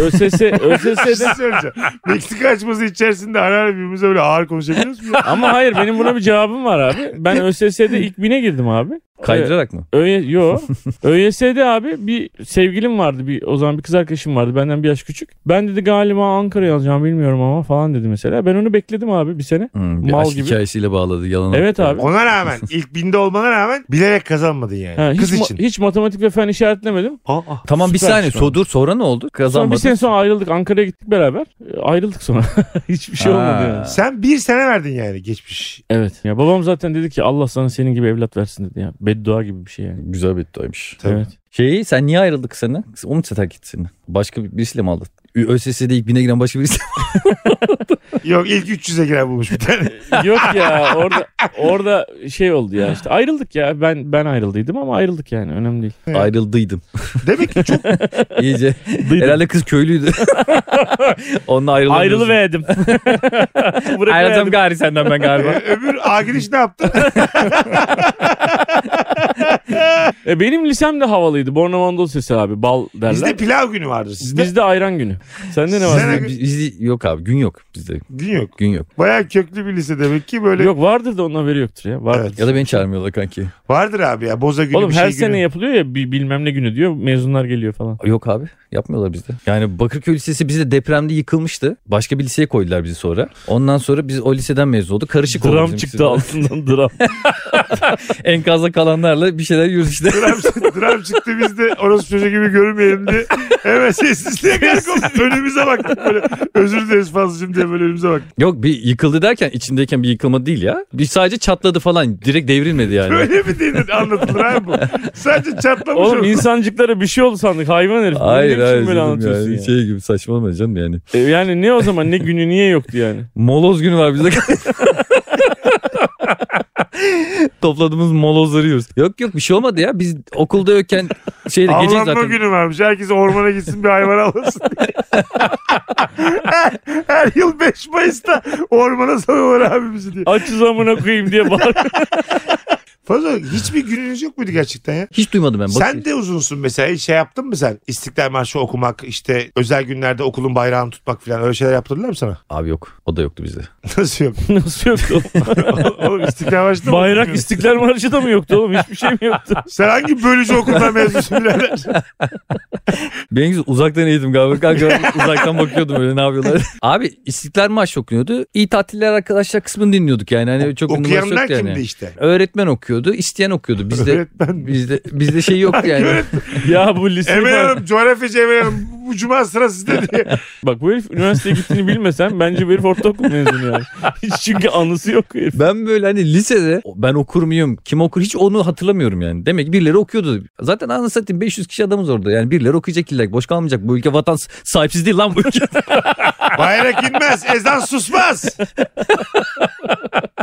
Speaker 7: ÖSS,
Speaker 5: Bir şey
Speaker 7: ÖSS'de
Speaker 5: söyleyeceğim. Meksika açması içerisinde ara ara birbirimize böyle ağır konuşabiliyoruz
Speaker 7: [LAUGHS]
Speaker 5: mu?
Speaker 7: ama hayır benim buna bir cevabım var abi. Ben ÖSS'de ilk bine girdim abi.
Speaker 6: Kaydırarak mı?
Speaker 7: Öyle yo. ÖYS'de abi bir sevgilim vardı. Bir o zaman bir kız arkadaşım vardı. Benden bir yaş küçük. Ben dedi galiba Ankara'ya alacağım bilmiyorum ama falan dedi mesela. Ben onu bekledim abi bir sene.
Speaker 6: Hmm, bir
Speaker 7: Mal
Speaker 6: aşk
Speaker 7: gibi.
Speaker 6: hikayesiyle bağladı yalan.
Speaker 7: Evet abi.
Speaker 5: Ona rağmen ilk binde olmana rağmen bilerek kazanmadın yani.
Speaker 7: Ha, hiç,
Speaker 5: Kız
Speaker 7: ma-
Speaker 5: için.
Speaker 7: hiç matematik ve fen işaretlemedim.
Speaker 5: Aa,
Speaker 6: Tamam bir
Speaker 5: süper
Speaker 6: saniye
Speaker 5: şu an.
Speaker 6: sodur sonra ne oldu?
Speaker 7: Sonra bir şey-
Speaker 6: Kazanmadın.
Speaker 7: sene sonra ayrıldık. Ankara'ya gittik beraber. E, Ayrıldık sonra. [LAUGHS] Hiçbir şey
Speaker 6: Ha.
Speaker 7: olmadı yani.
Speaker 5: Sen bir sene verdin yani geçmiş.
Speaker 7: Evet. Ya babam zaten dedi ki Allah sana senin gibi evlat versin dedi ya. Beddua gibi bir şey yani.
Speaker 6: Güzel bir iddiaymış.
Speaker 5: Tabii.
Speaker 7: Evet.
Speaker 6: Şeyi sen niye ayrıldık seni? Onu mu terk etti seni? Başka bir- birisiyle mi aldın? ÖSS'de ilk bine giren
Speaker 7: [LAUGHS]
Speaker 6: başka birisi.
Speaker 5: Yok ilk 300'e giren bulmuş bir tane.
Speaker 7: Yok ya orada orada şey oldu ya işte ayrıldık ya ben ben ayrıldıydım ama ayrıldık yani önemli değil.
Speaker 6: Ayrıldıydım.
Speaker 5: Demek ki çok
Speaker 7: [LAUGHS]
Speaker 6: İyice.
Speaker 7: Dıydım.
Speaker 6: Herhalde kız
Speaker 7: [LAUGHS]
Speaker 6: köylüydü. Onunla ayrılamıyorsun.
Speaker 7: Ayrılıverdim. [LAUGHS]
Speaker 6: Ayrılacağım
Speaker 7: Bırakıverdim.
Speaker 6: gari senden ben galiba.
Speaker 5: öbür A giriş ne yaptı?
Speaker 7: E, benim lisem de havalıydı. Bornavandol sesi abi bal derler.
Speaker 5: Bizde pilav günü vardır sizde.
Speaker 7: Bizde ayran günü. Sende ne var?
Speaker 5: Sen-
Speaker 6: Biz- biz- yok abi gün yok bizde.
Speaker 5: Gün yok.
Speaker 6: Gün yok.
Speaker 5: Baya köklü bir lise demek ki böyle.
Speaker 7: Yok vardır da onun haberi yoktur ya. Vardır.
Speaker 5: Evet.
Speaker 6: Ya da beni çağırmıyorlar kanki.
Speaker 5: Vardır abi ya boza günü
Speaker 7: Oğlum
Speaker 5: bir şey
Speaker 7: her
Speaker 5: günü.
Speaker 7: sene yapılıyor ya bi- bilmem ne günü diyor. Mezunlar geliyor falan.
Speaker 6: Yok abi yapmıyorlar bizde. Yani Bakırköy Lisesi bizde depremde yıkılmıştı. Başka bir liseye koydular bizi sonra. Ondan sonra biz o liseden mezun olduk. Karışık oldu
Speaker 7: Dram
Speaker 6: bizim
Speaker 7: çıktı
Speaker 6: lisede.
Speaker 7: altından
Speaker 5: [LAUGHS]
Speaker 7: dram.
Speaker 6: [LAUGHS] Enkazda kalanlarla bir şeyler yürüdü işte.
Speaker 5: Dram, dram çıktı bizde orası çocuğu gibi görünmeyelim diye. Hemen sessizliğe kalkıp önümüze baktık böyle. Özür dileriz fazlacığım diye böyle önümüze baktık.
Speaker 6: Yok bir yıkıldı derken içindeyken bir yıkılma değil ya. Bir sadece çatladı falan. Direkt devrilmedi yani.
Speaker 5: Böyle mi değil anlatılır abi bu. Sadece çatlamış
Speaker 7: Oğlum
Speaker 5: oldu.
Speaker 7: insancıklara bir şey oldu sandık hayvan herif. Ne
Speaker 6: [LAUGHS] Hayır
Speaker 7: biçim
Speaker 6: hayır.
Speaker 7: böyle
Speaker 6: canım
Speaker 7: anlatıyorsun
Speaker 6: yani.
Speaker 7: ya?
Speaker 6: Şey gibi saçmalama canım yani.
Speaker 7: E, yani ne o zaman ne günü niye yoktu yani?
Speaker 6: Moloz günü var bizde. [LAUGHS] Topladığımız molozları yiyoruz. Yok yok bir şey olmadı ya. Biz okulda yokken şeyde gece
Speaker 5: Avlanma
Speaker 6: zaten.
Speaker 5: günü varmış. Herkes ormana gitsin bir hayvan avlasın diye. [LAUGHS] her, her yıl 5 Mayıs'ta ormana salıyorlar abimizi diye.
Speaker 7: Açız amına koyayım diye bağır.
Speaker 5: Fazla hiçbir gününüz yok muydu gerçekten ya?
Speaker 6: Hiç duymadım ben. Bakayım.
Speaker 5: Sen de uzunsun mesela. Hiç Şey yaptın mı sen? İstiklal Marşı okumak, işte özel günlerde okulun bayrağını tutmak falan öyle şeyler yaptırdılar mı sana? [LAUGHS]
Speaker 6: Abi yok. O da yoktu bizde.
Speaker 5: Nasıl yok?
Speaker 7: Nasıl yoktu? [LAUGHS] oğlum?
Speaker 5: Oğlum İstiklal Marşı'nda mı
Speaker 7: Bayrak
Speaker 5: okumuyor?
Speaker 7: İstiklal Marşı da mı yoktu oğlum? Hiçbir şey mi yoktu?
Speaker 5: Sen hangi bölücü okuldan mezunsun [LAUGHS] birader?
Speaker 6: Benim uzaktan eğitim galiba. Kanka [LAUGHS] uzaktan bakıyordum öyle ne
Speaker 5: [LAUGHS]
Speaker 6: yapıyorlar. Abi İstiklal Marşı okunuyordu. İyi tatiller arkadaşlar kısmını dinliyorduk yani. Hani çok numarası
Speaker 5: Okuyanlar
Speaker 6: yoktu yani.
Speaker 5: kimdi işte?
Speaker 6: Öğretmen okuyordu, isteyen okuyordu. Bizde
Speaker 5: Öğretmen
Speaker 6: bizde bizde şey yoktu yani.
Speaker 7: [LAUGHS] ya bu lise
Speaker 5: Emel Hanım, coğrafyacı Emel Hanım. Bu cuma sıra sizde diye. [LAUGHS]
Speaker 7: Bak bu herif üniversiteye gittiğini bilmesen bence bu herif ortaokul mezunu yani. [LAUGHS] Hiç çünkü anısı yok herif.
Speaker 6: Ben böyle hani lisede ben okur muyum, kim okur hiç onu hatırlamıyorum yani. Demek ki birileri okuyordu. Zaten anasını satayım 500 kişi adamız orada. Yani birileri okuyacak illa ki. boş kalmayacak. Bu ülke vatan sahipsiz değil lan bu ülke.
Speaker 5: Bayrak inmez, ezan susmaz.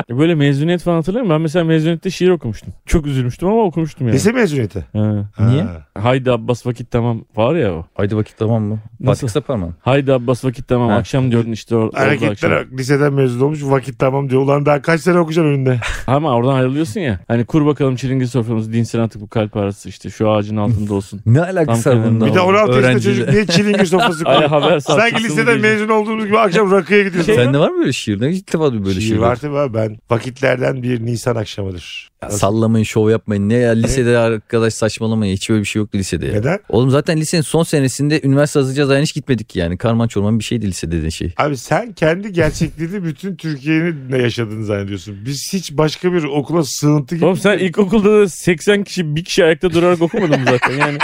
Speaker 7: Böyle mezuniyet falan hatırlıyorum. Ben mesela mezuniyette şiir okumuştum. Çok üzülmüştüm ama okumuştum yani.
Speaker 5: Lise mezuniyeti.
Speaker 7: Ha.
Speaker 6: Niye?
Speaker 5: Ha.
Speaker 7: Haydi Abbas vakit tamam var ya o.
Speaker 6: Haydi vakit tamam mı?
Speaker 7: Nasıl?
Speaker 6: Nasıl? Parmağım.
Speaker 7: Haydi Abbas vakit tamam
Speaker 6: Ha.
Speaker 7: akşam diyordun işte or- orada akşam.
Speaker 5: Hareketlere bak. Liseden mezun olmuş vakit tamam diyor. Ulan daha kaç sene okuyacağım önünde.
Speaker 7: Ama oradan ayrılıyorsun ya. Hani kur bakalım çilingir soframızı dinsin artık bu kalp arası işte şu ağacın altında [LAUGHS] olsun.
Speaker 6: Ne alakası
Speaker 7: Tam
Speaker 6: var bununla?
Speaker 7: kenarında.
Speaker 5: Bir de
Speaker 7: Tamam,
Speaker 5: 16 yaşında
Speaker 6: Öğrenciyle. [LAUGHS]
Speaker 5: çocuk niye çilingir sofrası
Speaker 7: Ay
Speaker 5: koyuyor?
Speaker 7: haber sal.
Speaker 5: Sanki liseden mezun olduğumuz gibi akşam rakıya gidiyoruz.
Speaker 7: Şey-
Speaker 6: Sende var mı böyle şiir? Ne ilk defa böyle şiir?
Speaker 5: Şiir var tabii abi ben. Vakitlerden bir Nisan akşamıdır.
Speaker 6: Ya sallamayın, şov yapmayın. Ne ya lisede arkadaş saçmalamayın. Hiç böyle bir şey yoktu lisede ya.
Speaker 5: Neden?
Speaker 6: Oğlum zaten lisenin son senesinde üniversite hazırlayacağız yani hiç gitmedik ki yani. Karman çorman bir şeydi lise dediğin şey.
Speaker 5: Abi sen kendi gerçekliğini bütün Türkiye'nin ne yaşadığını zannediyorsun. Biz hiç başka bir okula sığıntı gibi.
Speaker 7: Oğlum sen ilkokulda da 80 kişi bir kişi ayakta durarak okumadın mı zaten yani?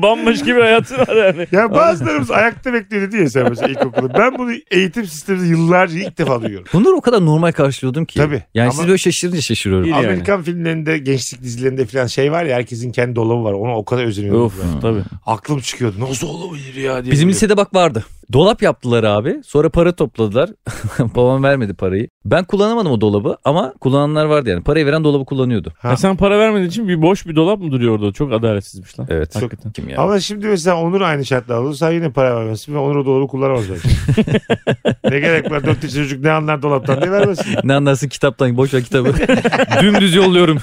Speaker 7: [LAUGHS] Bambaşka bir hayatın var yani.
Speaker 5: Ya bazılarımız ayakta bekliyor dedi ya sen mesela ilkokulda. Ben bunu eğitim sisteminde yıllarca ilk defa duyuyorum.
Speaker 6: Bunları o kadar normal karşılıyordum ki.
Speaker 5: Tabii.
Speaker 6: Yani
Speaker 5: Ama-
Speaker 6: siz böyle şaşırınca şaşırıyorum.
Speaker 7: İyi yani.
Speaker 5: Amerikan filmlerinde, gençlik dizilerinde falan şey var ya herkesin kendi dolabı var. Ona o kadar özeniyorum.
Speaker 7: Of tabii.
Speaker 5: Aklım çıkıyordu. Nasıl olabilir ya diye.
Speaker 6: Bizim
Speaker 5: böyle.
Speaker 6: lisede bak vardı. Dolap yaptılar abi. Sonra para topladılar. [LAUGHS] Babam vermedi parayı. Ben kullanamadım o dolabı ama kullananlar vardı yani. Parayı veren dolabı kullanıyordu.
Speaker 5: Ha.
Speaker 7: Ya sen para vermediğin için bir boş bir dolap mı duruyor orada? Çok adaletsizmiş lan. [LAUGHS]
Speaker 6: Evet.
Speaker 7: Hakikaten.
Speaker 6: Kim ya?
Speaker 5: Ama şimdi mesela Onur aynı şartlarda olursa yine para vermezsin ve Onur o dolabı kullanamaz
Speaker 7: [LAUGHS]
Speaker 5: belki. ne gerek var dört yaşında çocuk ne anlar dolaptan diye vermesin.
Speaker 6: Ne anlarsın kitaptan boş ver kitabı.
Speaker 5: [LAUGHS]
Speaker 6: Dümdüz yolluyorum.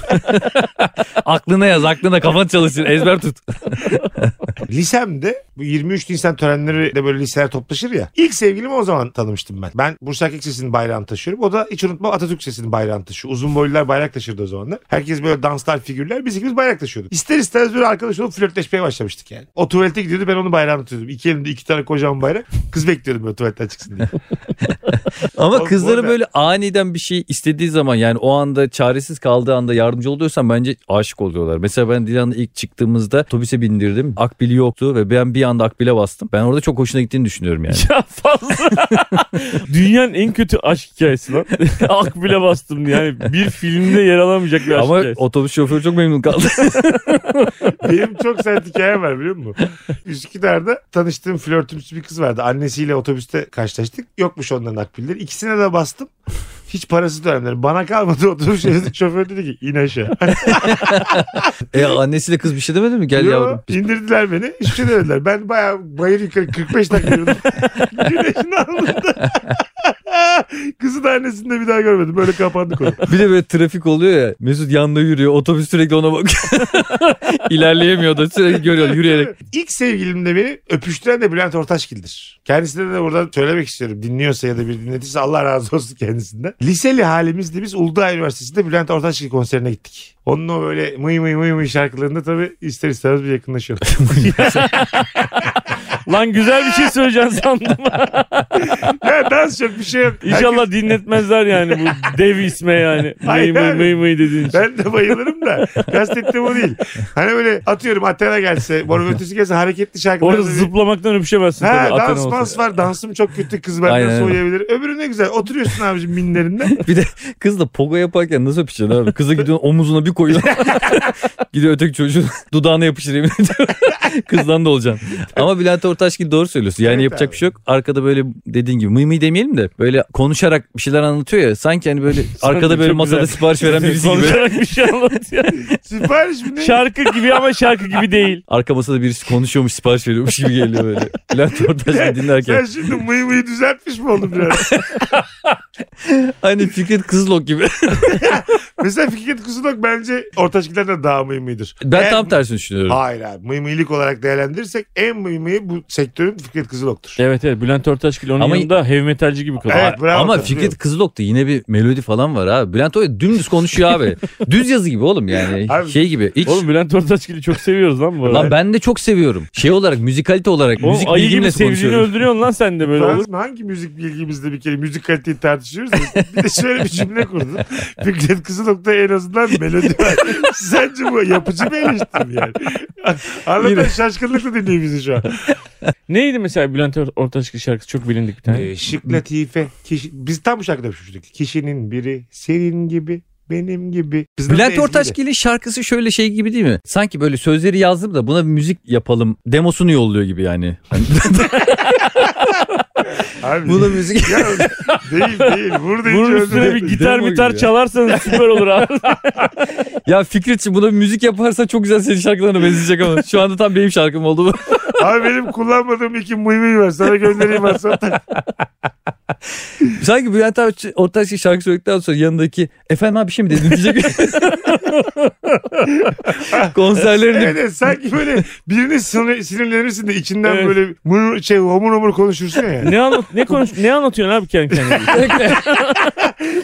Speaker 6: [LAUGHS] aklına yaz aklına kafan çalışsın ezber tut.
Speaker 5: Lisemde bu 23 Nisan törenleri de böyle liseler toplaşır ya. İlk sevgilimi o zaman tanımıştım ben. Ben Bursa Erkek Lisesi'nin bayrağını taşıyorum. O da hiç unutmam Atatürk Lisesi'nin bayrağını taşıyor. Uzun boylular bayrak taşırdı o zamanlar. Herkes böyle danslar, figürler. Biz ikimiz bayrak taşıyorduk. İster istemez böyle arkadaş olup flörtleşmeye başlamıştık yani. O tuvalete gidiyordu ben onun bayrağını tutuyordum. İki elimde iki tane kocaman bayrak. Kız bekliyordum böyle tuvaletten çıksın diye.
Speaker 6: Ama
Speaker 5: Oğlum, bu
Speaker 6: kızlara
Speaker 5: ne?
Speaker 6: böyle aniden bir şey istediği zaman yani o anda çaresiz kaldığı anda yardımcı oluyorsan bence aşık oluyorlar. Mesela ben Dilan'la ilk çıktığımızda otobüse bindirdim. Akbil yoktu ve ben bir anda Akbil'e bastım. Ben orada çok hoşuna gittiğini
Speaker 5: [LAUGHS]
Speaker 6: düşünüyorum yani.
Speaker 7: Ya fazla. [LAUGHS] Dünyanın en kötü aşk hikayesi lan. [LAUGHS] Akbil'e bastım diye. Yani bir filmde yer alamayacak bir aşk
Speaker 6: Ama
Speaker 7: hikayesi.
Speaker 6: otobüs şoförü çok
Speaker 5: [LAUGHS]
Speaker 6: memnun kaldı.
Speaker 5: Benim çok sert hikayem var biliyor musun? Üsküdar'da tanıştığım flörtümsü bir kız vardı. Annesiyle otobüste karşılaştık. Yokmuş onların akbilleri. İkisine de bastım. Hiç parası dönemleri. Bana kalmadı otobüs [LAUGHS] şoförü- şoförü dedi ki in aşağı.
Speaker 6: e annesiyle kız bir şey demedi mi? Gel
Speaker 5: Yo,
Speaker 6: yavrum. Biz-
Speaker 5: İndirdiler Hani beni. Hiçbir şey demediler. Ben bayağı bayır yukarı 45 dakika yürüdüm. [LAUGHS] Güneşin altında. [LAUGHS] Kızın annesini de bir daha görmedim. Böyle kapandı konu.
Speaker 6: Bir de böyle trafik oluyor ya. Mesut yanında yürüyor. Otobüs sürekli ona bak.
Speaker 5: [LAUGHS]
Speaker 6: İlerleyemiyor da sürekli görüyor yürüyerek.
Speaker 5: İlk sevgilim de beni öpüştüren de Bülent Ortaçgil'dir. Kendisine de buradan söylemek istiyorum. Dinliyorsa ya da bir dinletirse Allah razı olsun kendisinden. Liseli halimizde biz Uludağ Üniversitesi'nde Bülent Ortaçgil konserine gittik. Onun o böyle mıy mıy mıy mıy şarkılarında tabii ister istemez bir
Speaker 7: [LAUGHS]
Speaker 5: yakınlaşıyor.
Speaker 7: Lan güzel bir şey söyleyeceksin
Speaker 5: [LAUGHS]
Speaker 7: sandım.
Speaker 5: ya dans yok bir şey yok.
Speaker 7: İnşallah dinletmezler yani bu dev
Speaker 5: [LAUGHS]
Speaker 7: isme yani. Mıy
Speaker 5: Hayır
Speaker 7: mıy
Speaker 5: abi.
Speaker 7: mıy mıy dediğin şey. için.
Speaker 5: Ben de bayılırım da. Kastettiğim o değil. Hani böyle atıyorum Athena gelse, Mor
Speaker 7: [LAUGHS]
Speaker 5: ve Ötesi gelse hareketli şarkılar.
Speaker 7: Orada zıplamaktan öpüşemezsin
Speaker 5: Ha,
Speaker 7: tabii. Athena
Speaker 5: dans
Speaker 7: olsa.
Speaker 5: mans var. Dansım çok kötü. Kız benden
Speaker 6: Aynen öyle.
Speaker 5: soğuyabilir. Öbürü ne güzel. Oturuyorsun abicim
Speaker 7: [LAUGHS]
Speaker 5: minlerinden.
Speaker 6: [LAUGHS] Bir de kızla pogo yaparken nasıl öpeceksin abi? Kıza gidiyorsun omuzuna bir koyuyorsun. [LAUGHS] Gidiyor öteki çocuğun [LAUGHS] dudağına yapışır yemin ediyorum. [LAUGHS] Kızdan da olacaksın. Ama Bülent Ortaçgil doğru söylüyorsun. Yani
Speaker 5: Evet
Speaker 6: yapacak
Speaker 5: abi.
Speaker 6: bir şey yok. Arkada böyle dediğin gibi mıy mıy demeyelim de böyle konuşarak bir şeyler anlatıyor ya. Sanki hani böyle arkada
Speaker 7: Sanki
Speaker 6: böyle
Speaker 7: çok
Speaker 6: masada
Speaker 7: güzel.
Speaker 6: sipariş
Speaker 7: [LAUGHS]
Speaker 6: veren birisi gibi.
Speaker 7: Konuşarak bir şey anlatıyor.
Speaker 5: Sipariş mi ne?
Speaker 7: şarkı gibi ama şarkı gibi değil.
Speaker 6: Arka masada birisi konuşuyormuş sipariş veriyormuş gibi geliyor böyle. Bülent Ortaçgil
Speaker 5: Sen
Speaker 6: dinlerken.
Speaker 5: şimdi mıy mıyı düzeltmiş mi oldun
Speaker 6: [LAUGHS]
Speaker 5: biraz?
Speaker 6: Aynı Fikret Kızılok gibi.
Speaker 5: Mesela Fikret Kusulak bence ortaçkilerden daha mıy mıydır.
Speaker 6: Ben
Speaker 5: En-
Speaker 6: tam tersini düşünüyorum.
Speaker 5: Hayır abi. Mıy mıylık olarak değerlendirirsek en mıy mıyı bu sektörün Fikret Kızılok'tur.
Speaker 7: [LAUGHS] Evet evet Bülent Ortaçgil onun
Speaker 6: Ama-
Speaker 7: yanında heavy metalci gibi kalıyor.
Speaker 5: Evet, bravo,
Speaker 6: Ama
Speaker 5: katılıyorum.
Speaker 6: Fikret Kızılok'ta yine bir melodi falan var abi. Bülent Oya dümdüz konuşuyor abi. Düz yazı gibi oğlum yani.
Speaker 5: Abi-
Speaker 6: şey gibi. Hiç...
Speaker 7: Oğlum Bülent Ortaçgil'i çok seviyoruz lan bu arada.
Speaker 6: Lan ben de çok seviyorum. Şey olarak müzikalite olarak
Speaker 7: Oğlum
Speaker 6: müzik
Speaker 7: ayı
Speaker 6: bilgimle
Speaker 7: gibi sevdiğini
Speaker 6: konuşuyorum.
Speaker 7: öldürüyorsun lan sen de böyle olur.
Speaker 5: Fransız mı? hangi müzik bilgimizde bir kere müzik kaliteyi tartışıyoruz. ya. Bir de şöyle bir cümle
Speaker 6: [LAUGHS]
Speaker 5: kurdum. Fikret Kızılok'ta en azından melodi var. Sence bu yapıcı bir eleştirim
Speaker 6: [LAUGHS]
Speaker 5: yani. Anlatan şaşkınlıkla dinliyor bizi şu an.
Speaker 7: Neydi mesela Bülent Ort- Ortaçgil şarkısı çok bilindik
Speaker 5: [LAUGHS]
Speaker 7: bir tane.
Speaker 5: Ee, şık latife. Kişi, biz tam bu şarkıda yapışmıştık. Kişinin biri senin gibi benim gibi. Biz
Speaker 6: Bülent Ortaçgil'in şarkısı şöyle şey gibi değil mi? Sanki böyle sözleri yazdım da buna bir müzik yapalım demosunu yolluyor gibi yani. Hani
Speaker 5: Abi,
Speaker 6: buna müzik
Speaker 5: ya, değil değil. Vur deyince
Speaker 7: Bunun üstüne
Speaker 5: öldürüyor.
Speaker 7: bir gitar
Speaker 6: Demo
Speaker 7: mitar
Speaker 6: gibi
Speaker 7: [LAUGHS]
Speaker 6: ya.
Speaker 7: çalarsanız süper olur abi.
Speaker 6: ya Fikretçi buna bir müzik yaparsa çok güzel senin şarkılarına benzeyecek ama şu anda tam benim şarkım oldu bu.
Speaker 5: Abi benim kullanmadığım iki mıymıy var. Sana göndereyim ben sana.
Speaker 7: [LAUGHS]
Speaker 5: tak-
Speaker 6: Sanki Bülent Ortaç- Ortaçgil şarkı söyledikten sonra yanındaki efendim abi bir şey mi
Speaker 5: [LAUGHS]
Speaker 6: dedin diyecek. Konserlerinde
Speaker 5: Evet, evet, sanki böyle birine sinir- sinirlenirsin de içinden
Speaker 7: Evet.
Speaker 5: böyle mır, şey homur homur konuşursun ya.
Speaker 7: ne anlat ne konuş ne anlatıyorsun abi kendi kendine?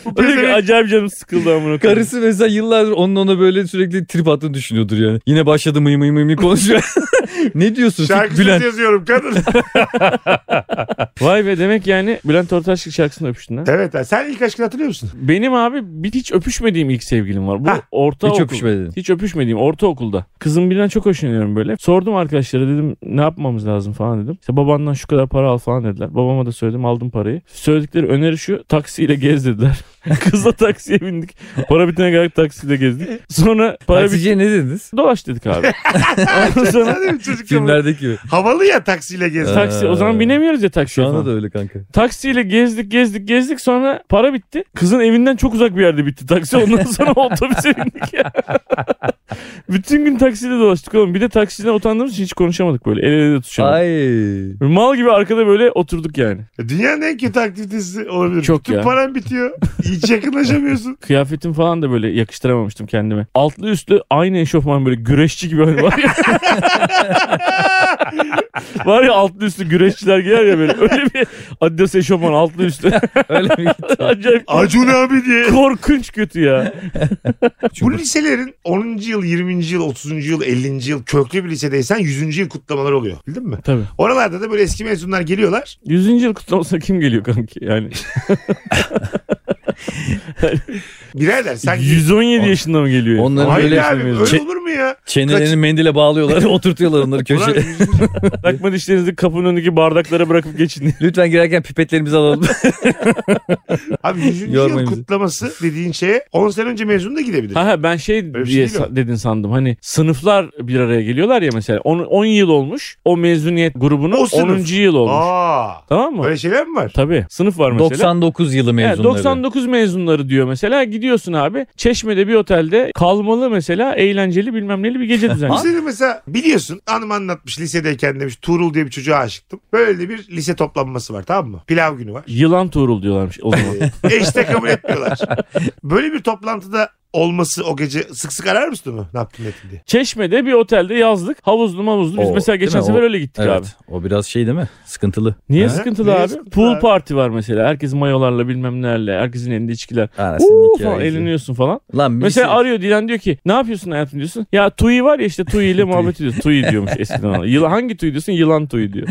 Speaker 5: Bu
Speaker 7: Öyle bir
Speaker 5: pezevenk-
Speaker 7: acayip canım sıkıldı amına koyayım.
Speaker 6: Karısı mesela yıllardır onun ona böyle sürekli trip attığını düşünüyordur yani. Yine başladı mıy mıy mıy mıy konuşuyor. [LAUGHS] ne diyorsun Fik-
Speaker 5: Şarkısız
Speaker 6: Bülent?
Speaker 5: yazıyorum kadın.
Speaker 7: [LAUGHS] Vay be demek yani Bülent Ortaçgil şarkısını öpüştün ha.
Speaker 5: evet ha, sen ilk aşkını hatırlıyor musun?
Speaker 7: Benim abi bir hiç öpüşmediğim ilk sevgilim var. Bu
Speaker 5: Hah,
Speaker 7: ortaokul.
Speaker 6: hiç öpüşmedin.
Speaker 7: Hiç öpüşmediğim ortaokulda. Kızım birden çok hoşlanıyorum böyle. Sordum arkadaşlara dedim ne yapmamız lazım falan dedim. İşte babandan şu kadar para al falan dediler. Babama da söyledim aldım parayı. Söyledikleri öneri şu taksiyle gez dediler. [LAUGHS] Kızla taksiye bindik. Para bitene kadar taksiyle gezdik. Sonra para bit
Speaker 6: Hatice'ye ne dediniz?
Speaker 7: dolaş dedik
Speaker 6: [LAUGHS]
Speaker 7: abi. Ondan sonra
Speaker 5: Sen de mi çocuk gibi?
Speaker 6: Filmlerdeki gibi.
Speaker 5: Havalı ya taksiyle gezdi.
Speaker 6: Evet.
Speaker 7: taksi o zaman binemiyoruz ya taksiye
Speaker 6: Şu anda
Speaker 7: falan.
Speaker 6: da öyle kanka.
Speaker 7: Taksiyle gezdik gezdik gezdik sonra para bitti. Kızın evinden çok uzak bir yerde bitti taksi. Ondan sonra otobüse bindik ya. Bütün gün taksiyle dolaştık oğlum. Bir de taksiden utandığımız için hiç konuşamadık böyle. El ele de tutuşamadık.
Speaker 6: Ay.
Speaker 7: Mal gibi arkada böyle oturduk yani.
Speaker 5: E, Dünyanın en kötü aktivitesi olabilir.
Speaker 7: Çok
Speaker 5: Bütün
Speaker 7: ya.
Speaker 5: paran bitiyor. Hiç yakınlaşamıyorsun.
Speaker 7: Kıyafetim falan da böyle yakıştıramamıştım kendime. Altlı üstlü aynı eşofman böyle güreşçi gibi hani var ya. var ya altlı üstlü güreşçiler giyer ya böyle. Öyle bir Adidas eşofman altlı üstlü.
Speaker 6: Öyle mi gitti?
Speaker 7: Acayip
Speaker 5: Acun abi diye.
Speaker 7: korkunç kötü ya.
Speaker 5: Bu liselerin 10. yıl, 20. yıl, 30. yıl, 50. yıl köklü bir lisedeysen 100. yıl kutlamaları oluyor. Bildin mi?
Speaker 7: Tabii.
Speaker 5: Oralarda da böyle eski mezunlar geliyorlar.
Speaker 7: [LAUGHS]
Speaker 5: [LAUGHS]
Speaker 7: 100. yıl kutlamasına kim geliyor kanki yani?
Speaker 5: Birader sanki...
Speaker 7: 117 yaşında mı geliyor? herif?
Speaker 6: Onların
Speaker 5: Hayır
Speaker 6: böyle Şey-
Speaker 5: abi
Speaker 7: yapmıyoruz.
Speaker 5: öyle
Speaker 6: Çe-
Speaker 5: olur mu ya?
Speaker 6: çenelerini
Speaker 5: Kaç- [LAUGHS]
Speaker 6: mendile bağlıyorlar oturtuyorlar onları köşeye.
Speaker 7: Takma dişlerinizi kapının önündeki bardaklara bırakıp
Speaker 6: [LAUGHS]
Speaker 7: geçin.
Speaker 6: Lütfen girerken pipetlerimizi alalım.
Speaker 5: Abi 100.
Speaker 6: [LAUGHS]
Speaker 5: yıl
Speaker 6: Yormayın bizi.
Speaker 5: kutlaması dediğin şeye 10 sene önce mezun da gidebilir.
Speaker 7: ha ha ben şey
Speaker 5: bir
Speaker 7: diye
Speaker 5: şey değil
Speaker 7: sa- dedin sandım. Hani sınıflar bir araya geliyorlar ya mesela. 10 yıl olmuş. O mezuniyet grubunun
Speaker 5: O sınıf.
Speaker 7: 10. yıl olmuş.
Speaker 5: Aa,
Speaker 7: Tamam mı?
Speaker 5: öyle şeyler mi var?
Speaker 7: Tabii. Sınıf var mesela.
Speaker 6: 99 yılı
Speaker 7: He,
Speaker 6: mezunları.
Speaker 7: 99 mezunları diyor mesela gidiyorsun abi Çeşme'de bir otelde kalmalı mesela eğlenceli bilmem neli bir
Speaker 5: [LAUGHS]
Speaker 7: gece düzenliyor.
Speaker 5: Bize de mesela biliyorsun hanım anlatmış lisedeyken demiş Tuğrul diye bir çocuğa aşıktım. Böyle de bir lise toplanması var tamam mı? Pilav günü var.
Speaker 7: Yılan Tuğrul diyorlarmış o
Speaker 6: [LAUGHS]
Speaker 7: zaman.
Speaker 5: [LAUGHS] Eşte kabul etmiyorlar. Böyle bir toplantıda olması o gece sık sık arar mısın onu? Ne yaptın ne ettin diye.
Speaker 7: Çeşme'de bir otelde yazdık havuzlu mavuzlu biz
Speaker 6: O,
Speaker 7: mesela
Speaker 6: değil
Speaker 7: geçen
Speaker 6: mi? O-
Speaker 7: sefer öyle gittik
Speaker 6: Evet.
Speaker 7: abi.
Speaker 6: O biraz şey değil mi? Sıkıntılı.
Speaker 7: Niye
Speaker 6: Ha?
Speaker 7: sıkıntılı
Speaker 5: Niye
Speaker 7: abi?
Speaker 5: sıkıntılı
Speaker 7: Pool
Speaker 5: abi?
Speaker 7: party var mesela. Herkes mayolarla bilmem nelerle. Herkesin elinde içkiler.
Speaker 6: Anasının
Speaker 7: Uuu falan
Speaker 6: hikayesi.
Speaker 7: eğleniyorsun falan.
Speaker 6: Lan şey-
Speaker 7: Mesela
Speaker 6: birisi-
Speaker 7: arıyor Dilan diyor ki ne yapıyorsun hayatım diyorsun. Ya Tuyi var ya işte Tuyi [LAUGHS] ile muhabbet ediyorsun. Tuyi diyormuş eskiden ona. Yılan, hangi Tuyi diyorsun? Yılan Tuyi [LAUGHS] diyor.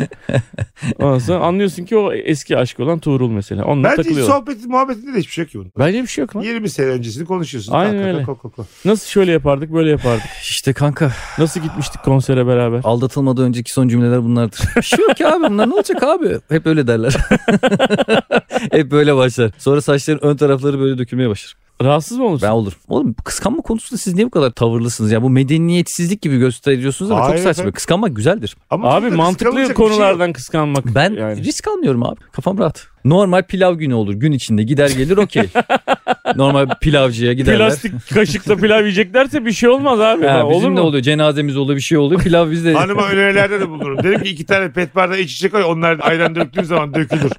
Speaker 7: Ondan sonra anlıyorsun ki o eski aşk olan Tuğrul mesela. Onunla
Speaker 5: Bence hiç
Speaker 7: takılıyor.
Speaker 5: sohbeti muhabbetinde de hiçbir şey yok ki bunun.
Speaker 7: Bence bir şey yok lan.
Speaker 5: 20 sene öncesini konuşuyorsun.
Speaker 7: Aynen
Speaker 5: Kalk, kalk,
Speaker 7: öyle.
Speaker 5: kalk, kalk, kalk.
Speaker 7: Nasıl şöyle yapardık böyle yapardık.
Speaker 6: İşte kanka
Speaker 7: Nasıl gitmiştik konsere beraber.
Speaker 6: aldatılmadan önceki son cümleler bunlardır. [LAUGHS] Bir şey yok ki abi bunlar ne olacak abi? Hep öyle derler. [LAUGHS] Hep böyle başlar. Sonra saçların ön tarafları böyle dökülmeye başlar.
Speaker 7: Rahatsız mı olursun?
Speaker 6: Ben olur. Oğlum kıskanma konusunda siz niye bu kadar tavırlısınız? Ya bu medeniyetsizlik gibi gösteriyorsunuz ama
Speaker 5: Hayır
Speaker 6: çok saçma.
Speaker 5: efendim.
Speaker 6: Kıskanmak güzeldir.
Speaker 5: Ama
Speaker 7: Abi
Speaker 5: burada
Speaker 7: mantıklı
Speaker 5: kıskanılacak bir şey yok.
Speaker 7: konulardan kıskanmak.
Speaker 6: Ben
Speaker 7: yani.
Speaker 6: risk almıyorum abi. Kafam rahat. Normal pilav günü olur. Gün içinde gider
Speaker 7: [LAUGHS]
Speaker 6: gelir okey. Normal pilavcıya giderler.
Speaker 7: Plastik kaşıkla pilav yiyeceklerse bir şey olmaz abi.
Speaker 6: Ha,
Speaker 7: Ha,
Speaker 6: bizim
Speaker 7: olur mu?
Speaker 6: ne oluyor? Cenazemiz oluyor bir şey oluyor.
Speaker 5: [LAUGHS]
Speaker 6: Pilav bizde.
Speaker 5: Hanıma önerilerde de bulunurum. Dedim ki iki tane pet bardağı iç içe koy. Onlar da ayran döktüğün zaman
Speaker 7: [LAUGHS]
Speaker 5: dökülür.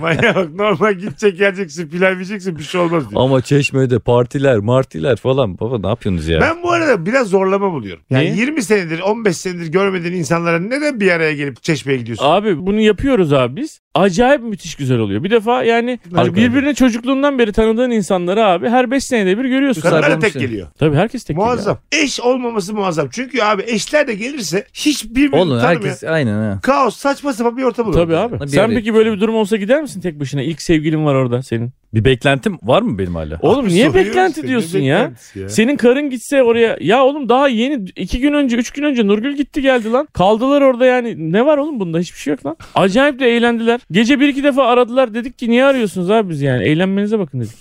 Speaker 5: Manyak bak normal gidecek geleceksin pilav yiyeceksin bir şey olmaz diyor.
Speaker 6: Ama çeşmede partiler martiler falan. Baba ne yapıyorsunuz ya?
Speaker 5: Ben bu arada biraz zorlama buluyorum. Yani
Speaker 7: Niye?
Speaker 5: 20 senedir 15 senedir görmediğin insanlara neden bir araya gelip çeşmeye gidiyorsun?
Speaker 7: Abi bunu yapıyoruz abi biz. Acayip müthiş güzel oluyor. Bir defa yani
Speaker 6: Harbiden.
Speaker 7: birbirine çocukluğundan beri tanıdığın insanları abi her 5 senede bir görüyorsun.
Speaker 6: Kadınlar-
Speaker 5: Kadınlar da
Speaker 6: sarılmış
Speaker 5: tek
Speaker 6: yani.
Speaker 5: geliyor.
Speaker 7: Tabii herkes tek
Speaker 5: Muazzam. Eş olmaması muazzam. Çünkü abi eşler de gelirse hiçbirbirini
Speaker 6: Oğlum
Speaker 5: tanımıyor.
Speaker 6: herkes aynen ha.
Speaker 5: Kaos saçma sapan bir ortam olur.
Speaker 7: Tabii abi.
Speaker 6: Bir
Speaker 7: Sen
Speaker 6: araya
Speaker 7: peki böyle bir durum olsa gider misin tek başına? İlk sevgilin var orada senin.
Speaker 6: Bir beklentim var mı benim hala?
Speaker 7: Oğlum
Speaker 5: Abi
Speaker 7: niye
Speaker 5: soruyor
Speaker 7: beklenti
Speaker 5: işte, ne
Speaker 7: diyorsun ya?
Speaker 5: beklentisi ya?
Speaker 7: Senin karın gitse oraya. Ya oğlum daha yeni 2 gün önce 3 gün önce Nurgül gitti geldi lan. Kaldılar orada yani. Ne var oğlum bunda? Hiçbir şey yok lan. Acayip de eğlendiler. Gece bir iki defa aradılar. Dedik ki niye arıyorsunuz abi biz yani? Eğlenmenize bakın [LAUGHS] dedik.